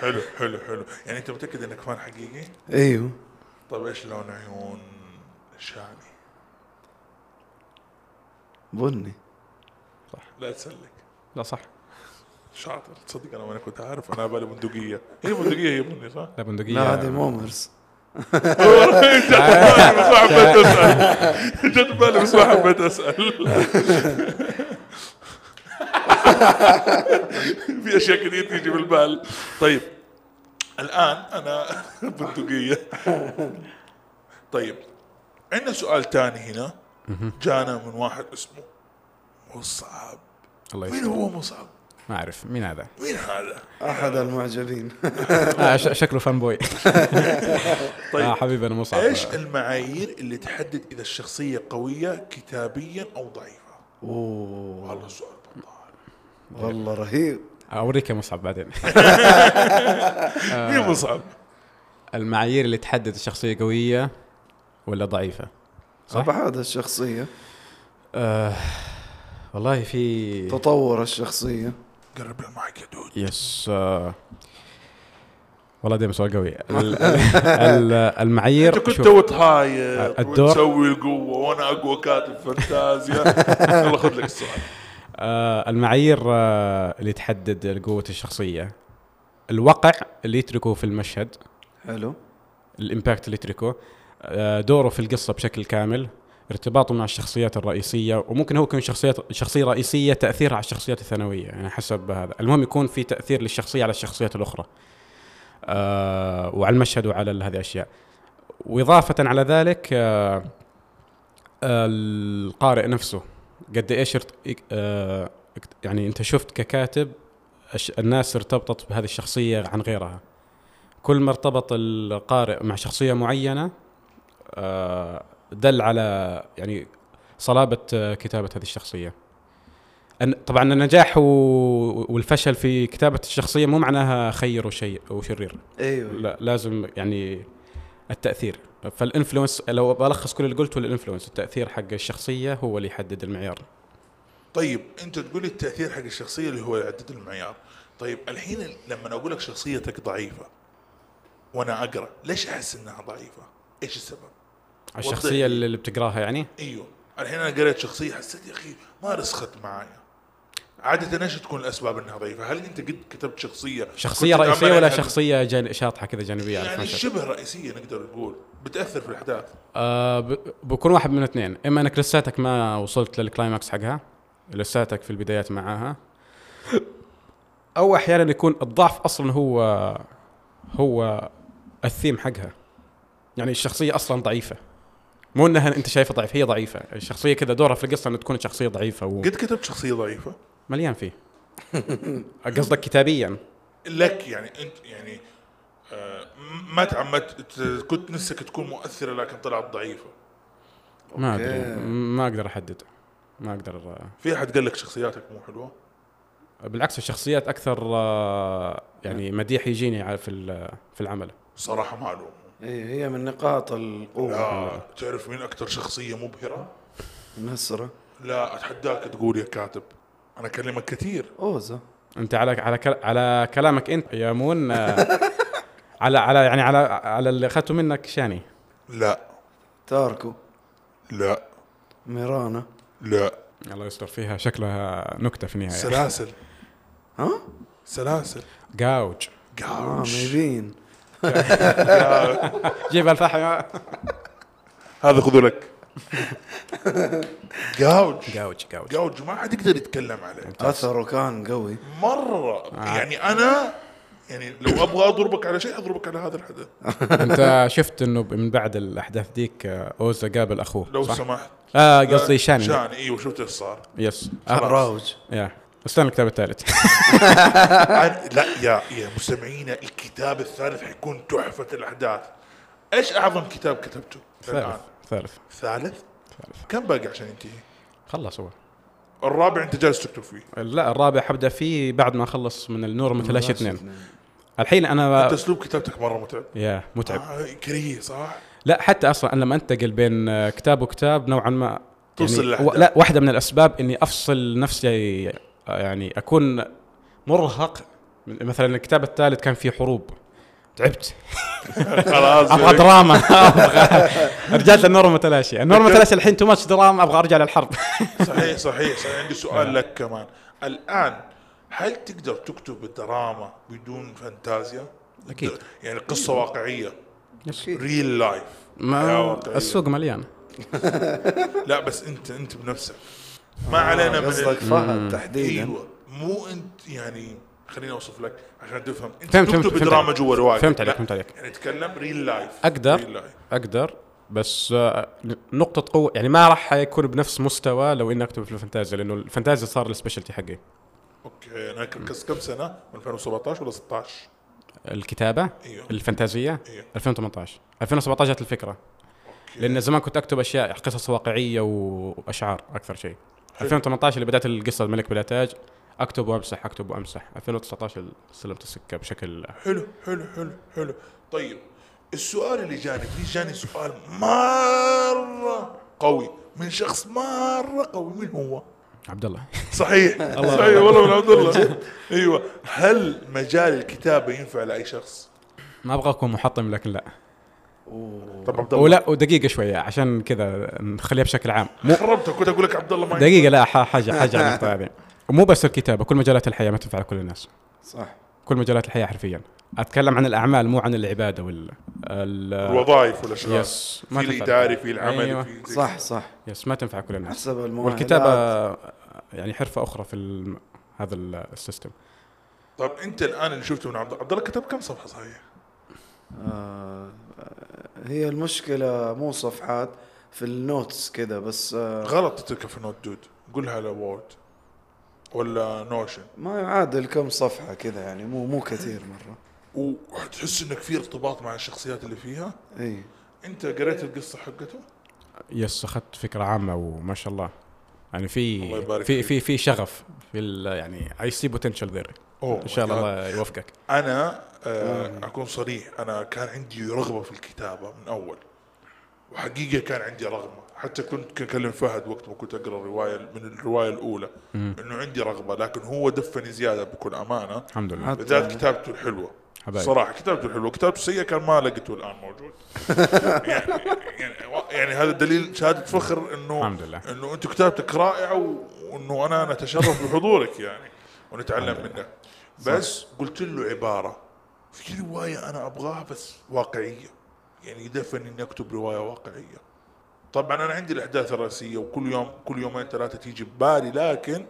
S1: حلو حلو حلو يعني انت متاكد انك فان حقيقي؟
S2: ايوه
S1: طيب ايش لون عيون شاني؟
S2: بني
S1: لا تسلك
S3: لا صح
S1: شاطر تصدق انا ما كنت عارف انا بالي بندقيه هي بندقيه هي بني صح؟
S3: لا بندقيه
S2: لا هذه مومرز
S1: جت بالي بس ما حبيت اسال جت بالي بس ما حبيت اسال في اشياء كثير تيجي بالبال طيب الان انا بندقيه طيب عندنا سؤال ثاني هنا جانا من واحد اسمه مصعب
S3: الله
S1: مين
S3: يستر
S1: هو مصعب؟
S3: ما اعرف مين هذا
S1: مين هذا؟
S2: احد المعجبين
S3: آه ش- شكله فان بوي اه
S1: طيب
S3: حبيبي انا مصعب
S1: ايش المعايير اللي تحدد اذا الشخصيه قويه كتابيا او ضعيفه؟
S2: اوه
S1: والله سؤال بطال
S2: والله رهيب
S3: اوريك يا مصعب بعدين آه.
S1: مين مصعب؟
S3: المعايير اللي تحدد الشخصيه قويه ولا ضعيفه صح؟
S2: ابعاد الشخصيه
S3: آه والله في
S2: تطور الشخصيه
S1: قرب المايك يا دود
S3: يس آه والله دائما سؤال قوي ال- ال- المعايير
S1: انت كنت
S3: شوف.
S1: تو تهايط
S3: الدور.
S1: وتسوي القوه وانا اقوى كاتب فانتازيا يلا خذ لك السؤال
S3: آه، المعايير آه، اللي تحدد قوة الشخصية الوقع اللي يتركه في المشهد
S2: حلو
S3: الامباكت اللي يتركه آه، دوره في القصة بشكل كامل ارتباطه مع الشخصيات الرئيسية وممكن هو يكون شخصيات شخصية رئيسية تأثيرها على الشخصيات الثانوية يعني حسب هذا المهم يكون في تأثير للشخصية على الشخصيات الأخرى آه، وعلى المشهد وعلى ال- هذه الأشياء وإضافة على ذلك آه، القارئ نفسه قد ايش ارت... إك- آه، إك- يعني انت شفت ككاتب الش- الناس ارتبطت بهذه الشخصيه عن غيرها كل ما ارتبط القارئ مع شخصيه معينه آه، دل على يعني صلابه آه، كتابه هذه الشخصيه أن- طبعا النجاح و- والفشل في كتابه الشخصيه مو معناها خير وشيء وشرير
S2: ايوه
S3: لا لازم يعني التاثير فالانفلونس لو بلخص كل اللي قلته الانفلونس التاثير حق الشخصيه هو اللي يحدد المعيار
S1: طيب انت تقول لي التاثير حق الشخصيه اللي هو يعدد المعيار طيب الحين لما اقول لك شخصيتك ضعيفه وانا اقرا ليش احس انها ضعيفه؟ ايش السبب؟
S3: الشخصيه اللي اللي بتقراها يعني
S1: ايوه الحين انا قريت شخصيه حسيت يا اخي ما رسخت معايا عادة ايش تكون الاسباب انها ضعيفة؟ هل انت قد كتبت شخصية
S3: شخصيه
S1: كنت
S3: رئيسيه
S1: تأمل
S3: ولا
S1: إنها-
S3: شخصيه جان شاطحه كذا جانبيه على
S1: يعني
S3: المشهد؟
S1: شبه رئيسية نقدر نقول بتأثر في الاحداث
S3: آه ب- بكون واحد من اثنين اما انك لساتك ما وصلت للكلايماكس حقها لساتك في البدايات معاها او احيانا يكون الضعف اصلا هو هو الثيم حقها يعني الشخصيه اصلا ضعيفه مو انها انت شايفها ضعيفه هي ضعيفه الشخصيه كذا دورها في القصه ان تكون شخصيه ضعيفه
S1: قد كتبت شخصية ضعيفة
S3: ومليان فيه قصدك كتابيا
S1: لك يعني انت يعني آه ما تعمدت ت- كنت نفسك تكون مؤثرة لكن طلعت ضعيفة
S3: ما
S2: أوكي.
S3: ادري ما اقدر احدد ما اقدر
S1: في احد قال لك شخصياتك مو حلوة
S3: بالعكس الشخصيات اكثر آه، يعني مديح يجيني على- في ال- في العمل
S1: صراحة ما الومه
S2: ايوه هي من نقاط القوه
S1: لا تعرف مين اكثر شخصية مبهرة؟
S2: نسره
S1: لا اتحداك تقول يا كاتب انا اكلمك كثير
S2: اوزا
S3: انت على على كل- على كلامك انت يا مون آه، على على يعني على على اللي اخذته منك شاني
S1: لا
S2: تاركو
S1: لا
S2: ميرانا
S1: لا
S3: الله يستر فيها شكلها نكته في النهايه
S1: سلاسل
S2: ها؟
S1: سلاسل
S3: جاوج
S2: اه
S1: قاوش
S2: ميبين
S3: جيب الفحم
S1: هذا خذوا لك قاوش
S3: جاوج جاوج
S1: قاوج ما حد يقدر يتكلم عليه
S3: آه.
S2: اثره كان قوي
S1: مره يعني انا يعني لو ابغى اضربك على شيء اضربك على هذا الحدث
S3: آه، انت شفت انه من بعد الاحداث ذيك آه، اوزا قابل اخوه
S1: لو
S3: صح؟
S1: سمحت
S3: اه قصدي شاني
S1: شان ايوه شفت ايش صار
S3: يس آه،
S2: راوج
S3: يا استنى الكتاب الثالث
S1: عن- لا يا يا مستمعينا الكتاب الثالث حيكون تحفه الاحداث ايش اعظم كتاب كتبته؟ الان
S3: ثالث
S1: ثالث؟
S3: ثالث ثالث.
S1: كم باقي عشان ينتهي؟
S3: خلص هو
S1: الرابع انت جالس تكتب فيه
S3: لا الرابع حبدا فيه بعد ما اخلص من النور متلاشي اثنين الحين انا
S1: انت اسلوب كتابتك مره متعب
S3: يا آه. متعب
S1: آه كريه صح؟
S3: لا حتى اصلا انا لما انتقل بين آه، كتاب وكتاب نوعا ما يعني
S1: توصل
S3: و...
S1: للأحداث.
S3: لا واحده من الاسباب اني افصل نفسي آه، يعني اكون مرهق من- مثلا الكتاب الثالث كان فيه حروب تعبت
S1: خلاص
S3: ابغى دراما ابغى رجعت للنور متلاشي النور متلاشي الحين تو ماتش دراما ابغى ارجع للحرب
S1: صحيح صحيح صحيح عندي
S3: نعم.
S1: سؤال لك كمان الان هل تقدر تكتب دراما بدون فانتازيا؟
S3: أكيد.
S1: يعني قصه واقعيه
S2: أكيد.
S1: ريل لايف
S3: ما السوق مليان
S1: لا بس انت انت بنفسك ما
S3: آه،
S1: علينا من
S2: قصدك
S1: ال-
S2: فهد تحديدا
S1: ايوه مو انت يعني خليني اوصف لك عشان تفهم انت
S3: فهمت-
S1: تكتب
S3: فهمت- فهمت
S1: دراما
S3: عليك.
S1: جوا روايه
S3: فهمت عليك،
S1: لا،
S3: فهمت عليك.
S1: يعني اتكلم ريل لايف
S3: اقدر اقدر بس آه، نقطة قوة يعني ما راح يكون بنفس مستوى لو اني اكتب في الفانتازيا لانه الفانتازيا صار السبيشالتي حقي
S1: اوكي انا كم كم سنه 2017 ولا 16
S3: الكتابة
S1: ايوه
S3: الفانتازية
S1: ايوه
S3: 2018 2017 جت الفكرة لان زمان كنت اكتب اشياء قصص واقعية واشعار اكثر شيء 2018 اللي بدات القصة الملك بلا تاج اكتب وامسح اكتب وامسح 2019 سلمت السكة بشكل
S1: حلو حلو حلو حلو طيب السؤال اللي جاني في جاني سؤال مره قوي من شخص مره قوي من هو؟
S3: عبد الله
S1: صحيح صحيح والله من عبد الله ايوه هل مجال الكتابه ينفع لاي شخص؟
S3: ما ابغى اكون محطم لكن لا
S1: طب عبد الله
S3: ولا ودقيقة شوية عشان كذا نخليها بشكل عام
S1: خربتك كنت اقول لك عبد الله ما ينفع.
S3: دقيقة لا ح- حاجة حاجة على النقطة هذه مو بس الكتابة كل مجالات الحياة ما تنفع لكل الناس
S2: صح
S3: كل مجالات الحياة حرفيا أتكلم عن الأعمال مو عن العبادة وال ال-
S1: الوظائف والاشغال
S3: يس
S1: في
S3: ما تنفع.
S1: الاداري في العمل
S3: أيوة.
S1: في زي
S2: صح صح
S3: يس ما تنفع كل الناس
S2: حسب المؤهلات
S3: والكتابة يعني حرفة أخرى في الم... هذا ال- السيستم
S1: طب انت الان اللي شفته من عبد عبد الله كتب كم صفحه صحيح؟
S2: آه، هي المشكلة مو صفحات في النوتس كذا بس آه،
S1: غلط تتركها في نوت دود قولها على وورد ولا نوشن
S2: ما يعادل كم صفحة كذا يعني مو مو كثير مرة
S1: وتحس انك في ارتباط مع الشخصيات اللي فيها
S2: اي
S1: انت قريت القصه حقته
S3: يس أخذت فكرة عامة وما شاء الله يعني
S1: الله
S3: في
S1: يبارك
S3: في
S1: فيك.
S3: في في شغف في ال... يعني اي سي بوتنشال ذير
S1: أوه
S3: ان شاء
S1: my God.
S3: الله الله يوفقك
S1: انا آه اكون صريح انا كان عندي رغبه في الكتابه من اول وحقيقه كان عندي رغبه حتى كنت اكلم فهد وقت ما كنت اقرا الروايه من الروايه الاولى انه عندي رغبه لكن هو دفني زياده بكل امانه
S3: الحمد لله
S2: عاد-
S1: بالذات كتابته الحلوه
S3: حبايبي.
S1: صراحه كتابته الحلوه كتابته السيئه كان ما لقيته الان موجود يعني, يعني, يعني هذا دليل شهاده فخر انه
S3: الحمد لله.
S1: انه انت كتابتك رائعه و- وانه انا نتشرف بحضورك يعني ونتعلم منك بس قلت له عباره في روايه انا ابغاها بس واقعيه يعني يدفن اني اكتب روايه واقعيه طبعا انا عندي الاحداث الرئيسيه وكل يوم كل يومين ثلاثه تيجي ببالي لكن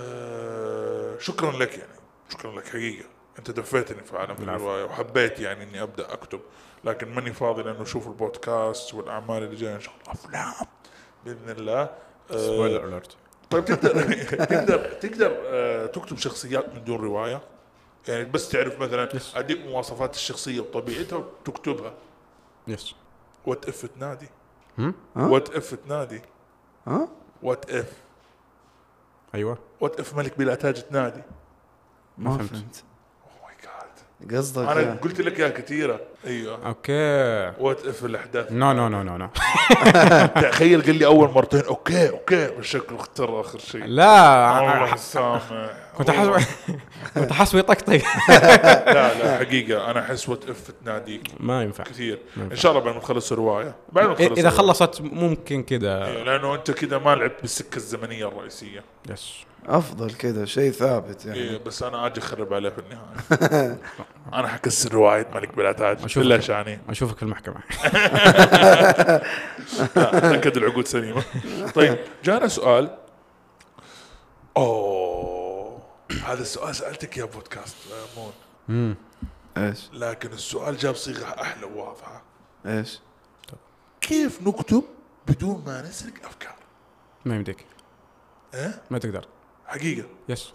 S1: آه شكرا لك يعني شكرا لك حقيقه انت دفيتني في عالم الروايه وحبيت يعني اني ابدا اكتب لكن ماني فاضي لانه اشوف البودكاست والاعمال اللي جايه ان شاء الله افلام باذن الله آه
S3: سبويلر الرت
S1: طيب تقدر تقدر تقدر آه تكتب شخصيات من دون روايه يعني بس تعرف مثلا اديك مواصفات الشخصيه وطبيعتها وتكتبها
S3: يس
S1: وات اف تنادي
S3: هم؟
S1: وات اف تنادي
S2: ها
S1: وات اف
S3: ايوه
S1: وات اف ملك بلا تاج تنادي
S2: ما
S3: فهمت.
S2: فهمت
S1: اوه ماي جاد
S2: قصدك يعني
S1: انا
S2: يا-
S1: قلت لك يا كثيره
S3: آه.
S1: ايوه
S3: اوكي
S1: وات اف الاحداث
S3: نو نو نو نو نو
S1: تخيل قال لي اول مرتين اوكي اوكي بالشكل اختار اخر شيء
S3: لا
S1: الله يسامح
S3: كنت احسب كنت احسب يطقطق
S1: لا لا حقيقه انا احس وات اف تناديك
S3: ما ينفع
S1: كثير ان شاء الله بعد ما تخلص الروايه بعد ما تخلص
S3: اذا
S1: الرواية.
S3: خلصت ممكن كذا
S1: إيه، لانه انت كذا ما لعبت بالسكه الزمنيه الرئيسيه
S3: يس
S2: افضل كذا شيء ثابت
S1: إيه
S2: يعني
S1: بس انا اجي اخرب عليه في النهايه انا حكسر روايه ملك بلا تاج
S3: أشوفك.
S1: الا شاني
S3: اشوفك في المحكمه
S1: اتاكد العقود سليمه طيب جانا سؤال اوه هذا السؤال سالتك يا بودكاست مون
S3: امم
S2: ايش
S1: لكن السؤال جاب صيغه احلى وواضحه
S2: ايش
S1: كيف نكتب بدون ما نسرق إيه؟ افكار؟
S3: ما يمديك
S1: ها؟
S3: ما تقدر
S1: حقيقه
S3: يس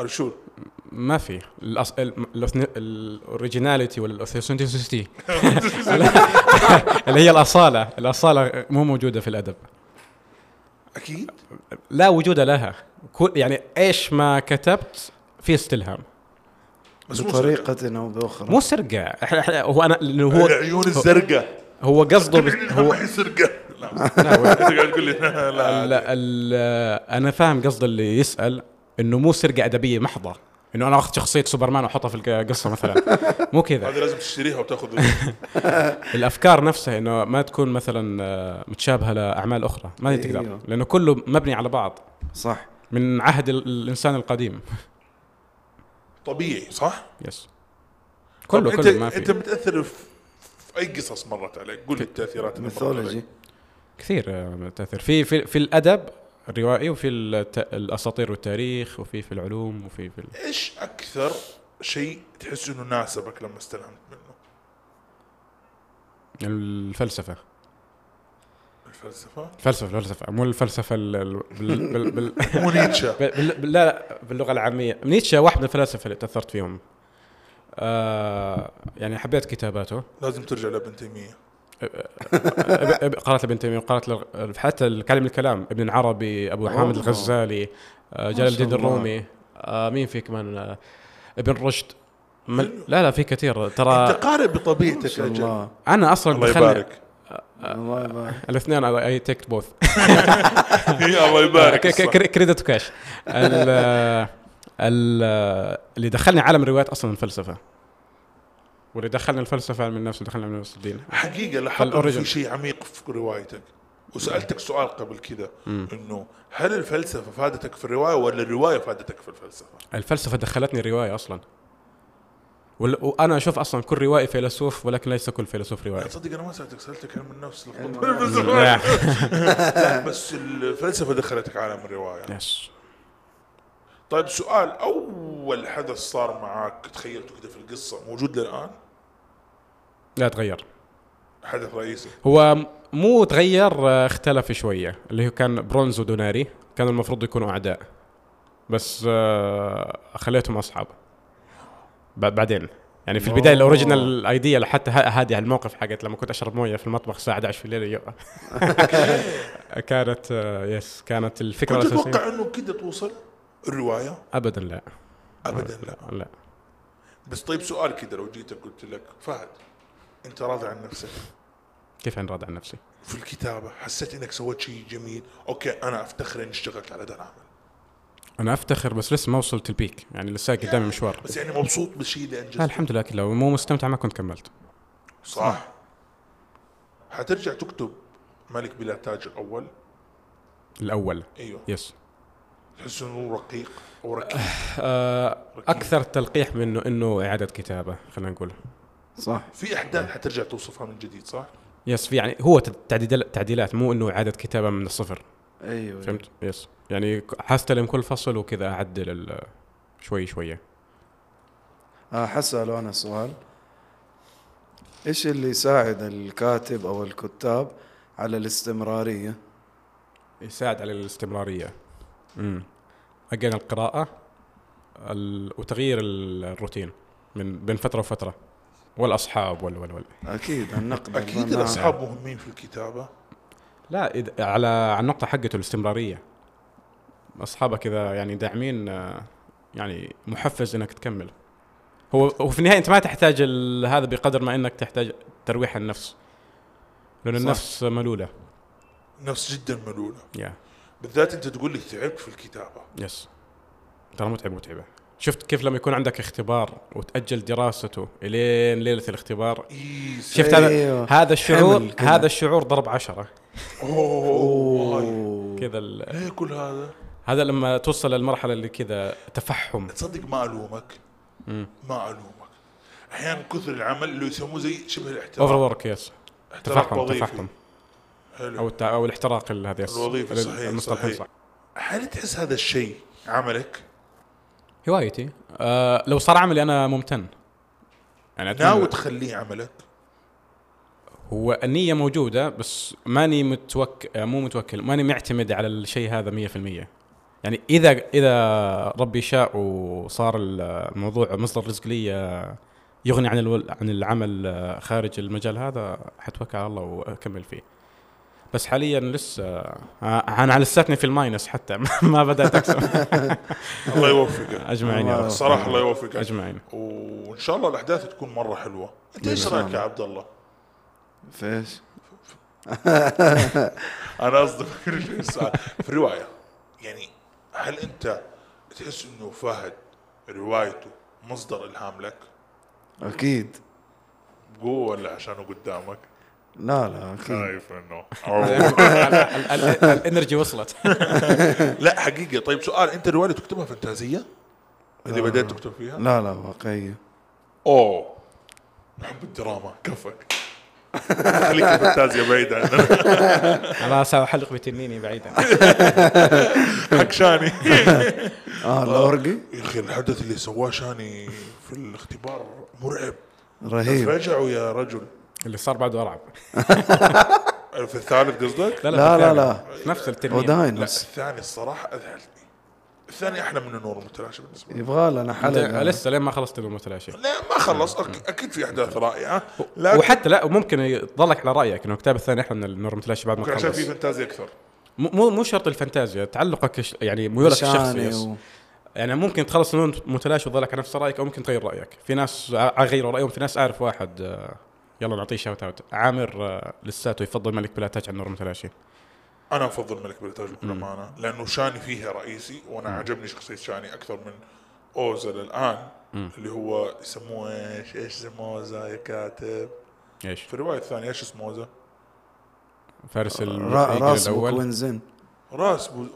S1: ارشول
S3: ما في الأص... الاوريجيناليتي والاوثنتيسيتي اللي هي الاصاله الاصاله مو موجوده في الادب
S1: اكيد
S3: لا وجود لها كل يعني ايش ما كتبت في استلهام
S1: بس مو سرقة.
S2: بطريقة او باخرى
S3: مو سرقه إحنا- إحنا- هو انا لأنه هو
S1: العيون الزرقاء
S3: هو قصده بس- هو
S1: هو سرقه لا انت قاعد تقول لي لا لا
S3: ال ال انا فاهم قصد اللي يسال انه مو سرقه ادبيه محضه انه انا اخذ شخصيه سوبرمان واحطها في القصه مثلا مو كذا
S1: هذه لازم تشتريها وتاخذ
S3: الافكار نفسها انه ما تكون مثلا آه، متشابهه لاعمال اخرى ما
S2: أيوه.
S3: تقدر لانه كله مبني على بعض
S2: صح
S3: من عهد ال- الانسان القديم
S1: طبيعي صح؟
S3: يس كله
S1: طب
S3: كله ما
S1: انت انت
S3: في
S1: متاثر في في اي قصص مرت عليك قول لي التاثيرات اللي مرت
S2: ميثولوجي
S1: عليك.
S3: كثير آه، تاثير في في في الادب الروائي وفي الت- الاساطير والتاريخ وفي في العلوم وفي في ال-
S1: ايش اكثر شيء تحس انه ناسبك لما استلهمت منه؟
S3: الفلسفه
S1: الفلسفه
S3: الفلسفه الفلسفه مو الفلسفه ال- ال- بال- بال- بال-
S1: مو نيتشه
S3: ب- بال- بال- لا لا باللغه العاميه نيتشه واحد من الفلاسفه اللي تاثرت فيهم آه يعني حبيت كتاباته
S1: لازم ترجع لابن تيميه
S3: أب- أب- قرات لابن تيميه وقرات لل- حتى الكلام الكلام ابن العربي ابو حامد
S2: والله.
S3: الغزالي آه،
S2: ما
S3: جلال
S2: شاء
S3: الدين
S2: الله.
S3: الرومي آه، مين في كمان آه، ابن رشد مل- لا لا في كثير ترى
S1: انت قارئ
S2: آه. ما
S1: بطبيعتك
S2: شاء
S1: يا جماعة.
S2: الله
S3: انا اصلا
S1: الله
S3: بخلي-
S1: يبارك
S2: الله يبارك
S3: الاثنين اي تيك بوث
S2: آه،
S1: الله يبارك الصح.
S3: كريدت وكاش ال- ال- اللي دخلني عالم الروايات اصلا الفلسفه واللي دخلني الفلسفه علم النفس واللي دخلني علم النفس الدين
S1: حقيقه لاحظت إنه
S3: فالأوريجن.
S1: في شيء عميق في روايتك وسالتك سؤال قبل كذا انه هل الفلسفه فادتك في الروايه ولا الروايه فادتك في الفلسفه؟
S3: الفلسفه دخلتني الروايه اصلا وال- وانا اشوف اصلا كل روائي فيلسوف ولكن ليس كل فيلسوف روائي
S1: تصدق انا ما سالتك سالتك علم النفس
S3: لا.
S1: لا، بس الفلسفه دخلتك عالم الروايه
S3: يس
S1: طيب سؤال اول حدث صار معك تخيلته كده في القصه موجود للان
S3: لا تغير
S1: حدث رئيسي
S3: هو م- مو تغير آه، اختلف شويه اللي هو كان برونز ودوناري كانوا المفروض يكونوا اعداء بس آه، خليتهم اصحاب ب- بعدين يعني في البدايه الاوريجينال ايديا حتى ه- هذه على الموقف حقت لما كنت اشرب مويه في المطبخ الساعه 11 في الليل يو- كانت آه، يس كانت الفكره
S1: كنت
S3: الاساسيه
S1: اتوقع انه كده توصل الروايه
S3: ابدا لا
S1: ابدا لا
S3: لا
S1: بس طيب سؤال كده لو جيتك قلت لك فهد انت راضي عن نفسك
S3: كيف انرد عن نفسي؟
S1: في الكتابه حسيت انك سويت شيء جميل اوكي انا افتخر اني اشتغلت على هذا العمل
S3: انا افتخر بس لسه ما وصلت البيك يعني لسه قدامي مشوار
S1: بس يعني مبسوط بالشيء اللي
S3: لا
S1: انجزته
S3: الحمد لله أكيد، لو مو مستمتع ما كنت كملت
S1: صح حترجع تكتب ملك بلا تاج الاول
S3: الاول
S1: ايوه
S3: يس
S1: تحس انه رقيق او ركيك
S3: اكثر تلقيح منه انه اعاده كتابه خلينا نقول
S2: صح
S1: في احداث حترجع توصفها من جديد صح؟
S3: يس في يعني هو تعديل تعديلات مو انه اعاده كتابه من الصفر
S2: ايوه
S3: فهمت يس يعني ك- حستلم كل فصل وكذا اعدل ال- شوي شوي
S2: آه حسأله أنا سؤال إيش اللي يساعد الكاتب أو الكتاب على الاستمرارية
S3: يساعد على الاستمراريه امم اجين القراءه ال- وتغيير ال- الروتين من بين فتره وفتره والاصحاب وال وال وال
S2: أكيد النقد
S1: اكيد
S2: الرناء.
S1: الاصحاب مهمين في الكتابه
S3: لا إذا على على النقطة حقته الاستمرارية أصحابك إذا يعني داعمين آه، يعني محفز إنك تكمل هو وفي النهاية أنت ما تحتاج ال- هذا بقدر ما إنك تحتاج ترويح النفس لأن
S2: صح.
S3: النفس ملولة
S1: نفس جدا ملوله
S3: يا
S1: بالذات انت تقول لي تعبت في الكتابه
S3: يس ترى متعب متعبة شفت كيف لما يكون عندك اختبار وتأجل دراسته إلين ليلة الاختبار
S1: اي
S3: شفت هذا
S2: أيوه.
S3: هذا الشعور
S2: حمل كده.
S3: هذا الشعور ضرب عشرة
S1: اوه
S2: أوه.
S3: كذا ال-
S1: ليه كل هذا؟
S3: هذا لما توصل للمرحلة اللي كذا تفحم
S1: تصدق ما الومك ما الومك احيانا كثر العمل اللي يسموه زي شبه
S3: اوفر
S1: الاحتراق
S3: ورك يس
S1: احتراق
S3: تفحم
S1: وظيفي.
S3: تفحم او
S1: حلو
S3: التع- او الاحتراق ال- هذا يس.
S1: الوظيفي،
S3: ال-
S1: صحيح،
S3: المصطلحين
S1: صحيح. هل تحس هذا الشيء عملك؟
S3: هوايتي آه لو صار عملي انا ممتن يعني أتمنى-
S1: ناوي تخليه عملك
S3: هو النية موجودة بس ماني متوك آه، مو متوكل ماني معتمد على الشيء هذا 100% يعني إذا إذا ربي شاء وصار الموضوع مصدر رزق لي آه، يغني عن الول... عن العمل آه، خارج المجال هذا حتوكل على الله واكمل فيه. بس حاليا لسه آه، انا على لساتني في الماينس حتى ما بدات اكسب
S1: الله يوفقك
S3: اجمعين يا رب
S1: صراحه الله يوفقك
S3: اجمعين
S1: وان شاء الله الاحداث تكون مره حلوه انت ايش
S2: بإذن
S1: رايك
S2: الله.
S1: يا عبد الله؟
S2: فيش
S1: انا قصدي في السؤال في الروايه يعني هل انت تحس انه فهد روايته مصدر الهام لك
S2: اكيد
S1: بقوه ولا عشانه قدامك؟
S2: لا لا اكيد
S1: خايف انه
S3: الانرجي وصلت
S1: لا حقيقه طيب سؤال انت الروايه اللي تكتبها فانتازيه؟ اللي بدات تكتب فيها؟
S2: لا لا واقعيه
S1: اوه نحب الدراما كفك خليك الفانتازيا بعيد عننا
S3: خلاص احلق بتنيني بعيدا
S1: حق شاني
S3: آه.
S2: اه الاورقي
S1: يا اخي الحدث اللي سواه شاني في الاختبار مرعب
S2: رهيب
S1: فجعوا يا رجل
S3: اللي صار بعده ارعب
S1: في الثالث قصدك؟
S2: لا، لا،
S3: في
S2: لا.
S3: الثاني. نفس الترميم
S2: وداينوس
S1: الثاني الصراحه اذهلني الثاني احلى من النور المتلاشى بالنسبه لي
S2: يبغى لنا
S3: لا.
S2: حلقه
S3: لسه لين ما خلصت النور متلاشي
S1: لا ما خلص أك- اكيد في احداث رائعه لكن
S3: وحتى لا وممكن يضلك على رايك انه الكتاب الثاني احلى من النور متلاشي بعد ما
S1: ممكن عشان في
S3: تخلص
S1: فانتازيا اكثر
S3: مو مو- مو شرط الفانتازيا تعلقك الش- يعني ميولك الشخصي
S2: شاني
S3: يس.
S2: و-
S3: يعني ممكن تخلص النور متلاشي وتضلك على نفس رايك او ممكن تغير رايك في ناس ع- غيروا رايهم في ناس اعرف واحد آه، يلا نعطيه شوت اوت عامر آه، لساته يفضل ملك بلا تاج عن النور متلاشي
S1: انا افضل ملك بلا تاج بكل امانه لانه شاني فيها رئيسي وانا عجبني شخصيه شاني اكثر من اوزل الان اللي هو يسموه ايش ايش اسمه اوزا يا كاتب
S3: ايش
S1: في الروايه الثانيه ايش اسمه اوزا
S3: فارس
S2: را-
S3: الرقيق
S2: راس
S3: الاول
S2: وكوينزن
S1: راس بو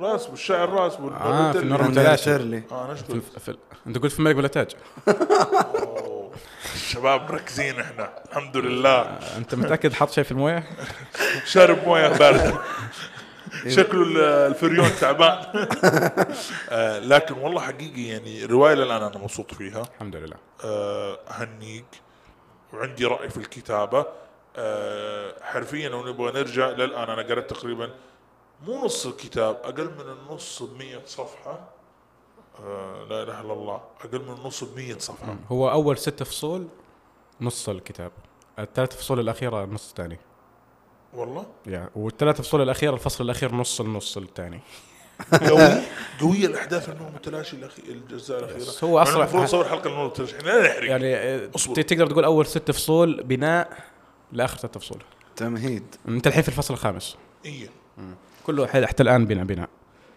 S1: راس بو الشاعر راس بو
S3: آه، في النور
S1: آه،
S3: متلاشي.
S2: تيرلي
S1: انا ايش
S3: في
S1: قلت؟
S3: الف... في ال... انت قلت في ملك بلا تاج
S1: أوه، الشباب مركزين احنا الحمد لله
S3: انت متاكد حاط شيء في المويه؟
S1: شارب مويه بارده شكله ال- الفريون تعبان آه، لكن والله حقيقي يعني الروايه الان انا مبسوط فيها
S3: الحمد لله
S1: آه، اهنيك وعندي راي في الكتابه آه، حرفيا لو نبغى نرجع للان انا قرأت تقريبا مو نص الكتاب اقل من النص ب 100 صفحه آه، لا اله الا الله اقل من النص ب 100 صفحه
S3: هو اول ست فصول نص الكتاب الثلاث فصول الاخيره النص الثاني
S1: والله
S3: يعني والثلاث فصول الاخيره الفصل الاخير نص النص الثاني
S1: قوي قوية الاحداث انه متلاشي الأخي- الجزء الاخير
S3: بس هو أصلاً-
S1: المفروض نصور حلقه النور المتلاشي إحنا لا نحرق
S3: يعني آه،
S1: إيه. أصبر.
S3: ت- تقدر تقول اول ست فصول بناء لاخر ست فصول
S2: تمهيد
S3: انت الحين في الفصل الخامس
S1: إيه.
S3: كله حل- حتى الان بناء بناء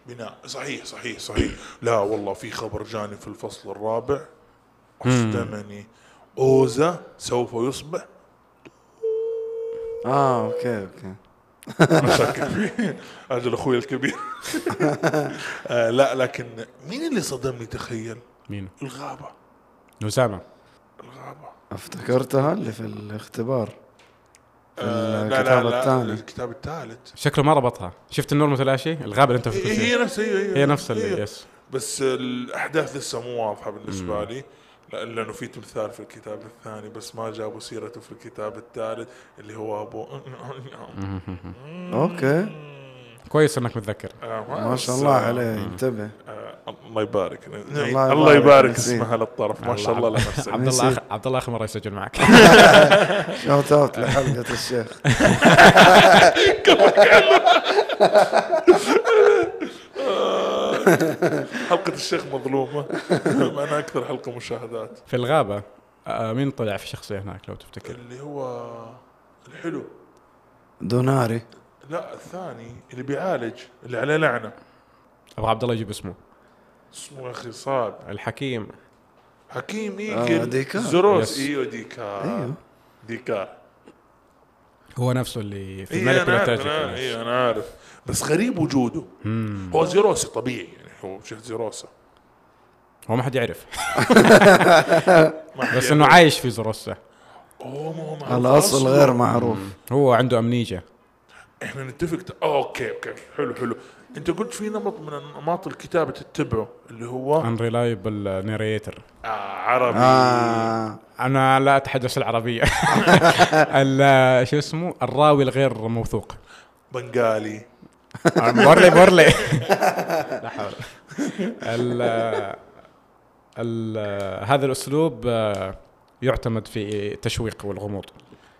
S1: بناء صحيح صحيح صحيح لا والله في خبر جاني في الفصل الرابع اصدمني اوزا سوف يصبح
S2: اه اوكي اوكي
S1: انا شاكك فيه اجل اخوي الكبير آه لا لكن مين اللي صدمني تخيل
S3: مين؟
S1: الغابه
S3: اسامه
S1: الغابه
S2: افتكرتها اللي في الاختبار
S1: آه
S2: الكتاب الثاني.
S1: الكتاب الثالث
S3: شكله ما ربطها شفت النور متلاشي الغابه اللي انت فكرت
S1: إيه، هي إيه. هي
S3: فيها
S1: نفس هي,
S3: هي نفس
S1: هي.
S3: اللي يس
S1: بس الاحداث لسه مو واضحه بالنسبه لي لأ- لانه في تمثال في الكتاب الثاني بس ما جابوا سيرته في الكتاب الثالث اللي هو ابو
S2: اوكي
S3: كويس انك متذكر
S1: آه،
S2: ما شاء الله عليه انتبه
S1: الله يبارك
S2: الله
S1: الله يبارك
S2: يبارك
S1: اسمها للطرف ما شاء الله
S3: الله
S1: لنفسك
S3: عبد الله آخر- عبد الله اخر مره يسجل معك
S2: شوت اوت لحلقه الشيخ
S1: حلقه الشيخ مظلومه مع انها اكثر حلقه مشاهدات
S3: في الغابه آه، مين طلع في شخصيه هناك لو تفتكر
S1: اللي هو الحلو
S2: دوناري
S1: لا الثاني اللي بيعالج اللي عليه لعنه
S3: ابغى عبد الله يجيب اسمه
S1: اسمه يا اخي صعب
S3: الحكيم
S1: حكيم
S2: آه،
S1: ايكل
S2: ديكار.
S1: زروس
S3: يس.
S1: ايوه ديكار
S2: ايوه
S1: ديكار
S3: هو نفسه اللي في
S1: إيه
S3: الملك
S1: أنا
S3: بلا
S1: عارف، أنا عارف،
S3: تاج
S1: إيه انا عارف بس غريب وجوده هو زيروسي طبيعي يعني هو شيخ زيروسا
S3: هو ما حد يعرف
S1: ما حد
S3: بس
S1: يعرف.
S3: انه عايش في زروسة
S1: اوه ما هو معروف
S2: الاصل
S1: أصلاً.
S2: غير معروف
S3: هو عنده امنيجا
S1: احنا نتفق ت- اوكي اوكي حلو حلو انت قلت في نمط من انماط آه.
S3: آه.
S1: الكتابه تتبعه اللي هو
S3: انريلايبل ناريتر
S1: آه عربي
S2: آه
S3: انا لا اتحدث العربيه ال- شو اسمه الراوي الغير موثوق
S1: بنغالي
S3: بورلي بورلي لا حول ال- ال- هذا الاسلوب آه، يعتمد في التشويق والغموض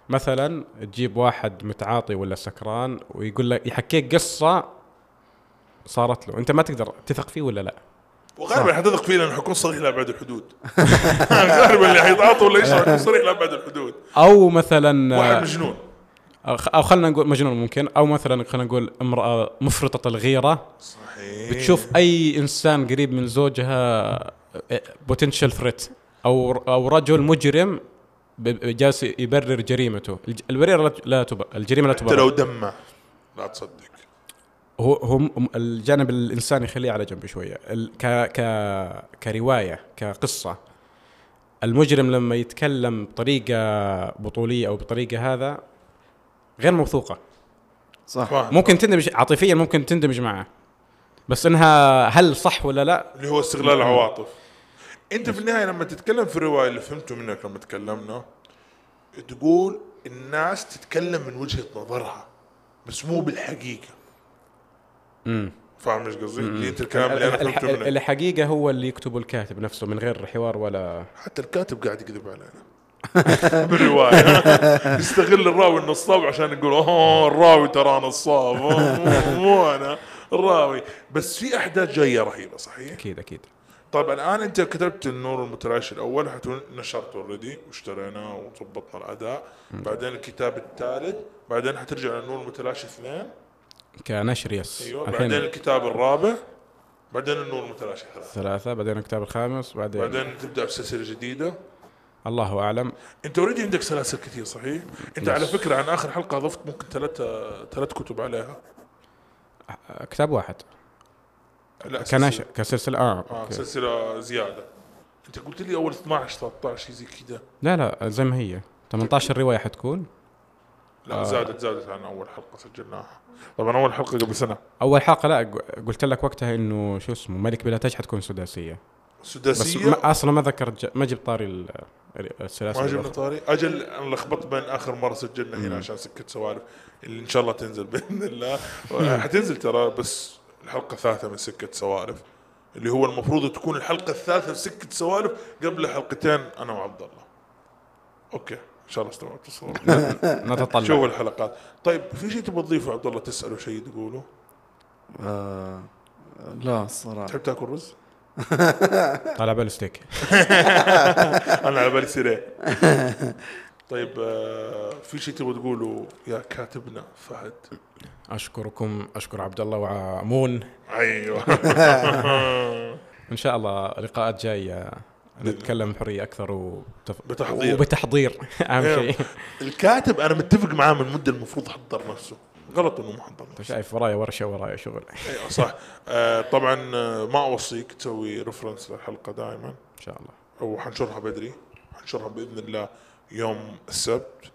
S3: مثلا تجيب واحد متعاطي ولا سكران ويقول لك يحكيك قصه صارت له انت ما تقدر تثق فيه ولا لا
S1: وغالبا حتثق فيه لانه حيكون صريح لابعد الحدود غالبا اللي حيتعاطوا ولا يشرب حيكون صريح لابعد الحدود
S3: او مثلا آه،
S1: واحد مجنون
S3: او آه، خ- أو خلينا نقول مجنون ممكن او مثلا خلينا نقول امراه مفرطه الغيره
S1: صحيح
S3: بتشوف اي انسان قريب من زوجها إيه، بوتنشال ثريت او او رجل مجرم ب- ب- جالس يبرر جريمته الج- البرير لا- لا تبرر الجريمه لا
S1: حتى لو
S3: تبرر
S1: دمع لا تصدق
S3: هو هم هم- الجانب الانساني خليه على جنب شويه ال- ك ك كروايه كقصه المجرم لما يتكلم بطريقه بطوليه او بطريقه هذا غير موثوقه
S2: صح
S1: فاهم.
S3: ممكن تندمج عاطفيا ممكن تندمج معه بس انها هل صح ولا لا
S1: اللي هو استغلال
S3: نعم.
S1: العواطف انت في النهايه لما تتكلم في الروايه اللي فهمته منك لما تكلمنا تقول الناس تتكلم من وجهه نظرها بس مو بالحقيقه فاهم ايش قصدي؟ دي انت الكلام اللي انا
S3: الح-
S1: فهمته منك
S3: الحقيقه هو اللي يكتبه الكاتب نفسه من غير حوار ولا
S1: حتى الكاتب قاعد يكذب علينا بالروايه يستغل الراوي النصاب عشان يقول اوه الراوي ترى نصاب أوه، مو- مو انا الراوي بس في احداث جايه رهيبه صحيح؟
S3: اكيد اكيد
S1: طيب الان انت كتبت النور المتلاشي الاول حتو- نشرته اوريدي واشتريناه وظبطنا الاداء بعدين الكتاب الثالث بعدين حترجع للنور المتلاشي اثنين
S3: كنشر يس
S1: ايوه
S3: الحين
S1: بعدين الكتاب الرابع بعدين النور المتلاشي ثلاثة
S3: ثلاثه بعدين الكتاب الخامس بعدين,
S1: بعدين تبدا بسلسله جديده
S3: الله اعلم
S1: انت اوريدي عندك سلاسل كثير صحيح؟ انت على فكره عن اخر حلقه ضفت ممكن ثلاثة ثلاث كتب عليها
S3: آه، كتاب واحد
S1: لا
S3: كنشر
S1: سلسلة.
S3: كسلسله اه,
S1: اه
S3: أوكي.
S1: سلسله زياده انت قلت لي اول 12 13 شيء زي كذا
S3: لا لا زي ما هي 18 روايه حتكون آه.
S1: لا زادت زادت عن اول حلقه سجلناها طبعا اول حلقه قبل سنه
S3: اول حلقه لا ق- قلت لك وقتها انه شو اسمه ملك بلا تاج حتكون سداسيه بس
S1: سداسيه
S3: ما اصلا ما ذكرت ج- ما جبت طاري ال- السلاسل
S1: ما جبنا
S3: الأخرى.
S1: طاري اجل انا لخبطت بين اخر مره سجلنا هنا عشان سكت سوالف اللي ان شاء الله تنزل باذن الله حتنزل ترى بس الحلقه الثالثه من سكه سوالف اللي هو المفروض تكون الحلقه الثالثه في سكه سوالف قبل حلقتين انا وعبد الله اوكي ان شاء الله استوعبت الصوره
S3: نتطلع
S1: شوف الحلقات طيب في شيء تبغى تضيفه عبد الله تساله شيء تقوله
S2: آه لا الصراحه
S1: تحب تاكل رز
S3: طالع بالستيك
S1: انا على بالي سريع طيب آه، في شيء تبغى تقوله يا كاتبنا فهد
S3: اشكركم اشكر عبد الله وعمون
S1: ايوه
S3: ان شاء الله لقاءات جايه نتكلم بحريه اكثر وتف...
S1: بتحضير. إيه.
S3: وبتحضير اهم شيء
S1: الكاتب انا متفق معاه من مده المفروض حضر نفسه غلط انه ما حضر
S3: انت
S1: نفسه
S3: طيب، شايف ورايا ورشه ورايا شغل ان
S1: ايوه صح آه طبعا آه، ما اوصيك تسوي ريفرنس للحلقه دائما
S3: شاء الله
S1: او حنشرها بدري حنشرها باذن الله يوم السبت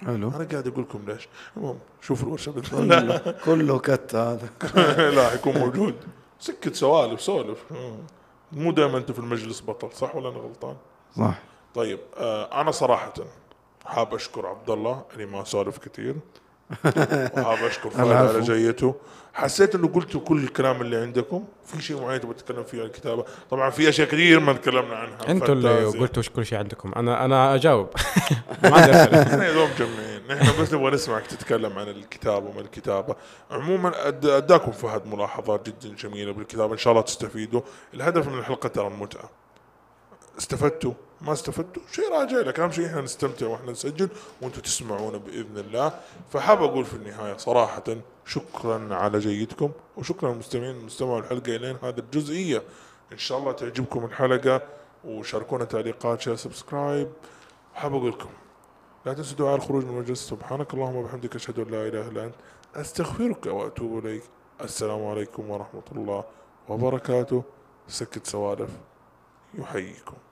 S2: حلو
S1: انا قاعد اقول لكم ليش المهم شوفوا الورشه باذن الله
S2: كله كت هذا
S1: لا حيكون موجود سكت سوالف سولف مم. مو دائما انت في المجلس بطل صح ولا انا غلطان؟
S2: صح
S1: طيب آه انا صراحه حاب اشكر عبد الله اللي ما سولف كثير وحاب اشكر فهد
S2: العفو.
S1: على جيته حسيت انه قلت كل الكلام اللي عندكم في شيء معين تبغى تتكلم فيه عن الكتابه طبعا في اشياء كثير ما تكلمنا عنها
S3: انتوا اللي
S1: فانتازيا.
S3: قلتوا ايش كل شيء عندكم انا انا اجاوب ما عندي أسئلة.
S1: احنا يا دوب مجمعين نحن بس نبغى نسمعك تتكلم عن الكتاب وما الكتابه عموما أد- اداكم فهد ملاحظات جدا جميله بالكتاب ان شاء الله تستفيدوا الهدف من الحلقه ترى المتعه استفدتوا ما استفدتوا شيء راجع لك اهم شيء احنا نستمتع واحنا نسجل وانتم تسمعونا باذن الله فحاب اقول في النهايه صراحه شكرا على جيدكم وشكرا للمستمعين المستمع الحلقه الين هذه الجزئيه ان شاء الله تعجبكم الحلقه وشاركونا تعليقات شير سبسكرايب حاب اقول لكم لا تنسوا دعاء الخروج من المجلس سبحانك اللهم وبحمدك اشهد ان لا اله الا انت استغفرك واتوب اليك السلام عليكم ورحمه الله وبركاته سكت سوالف يحييكم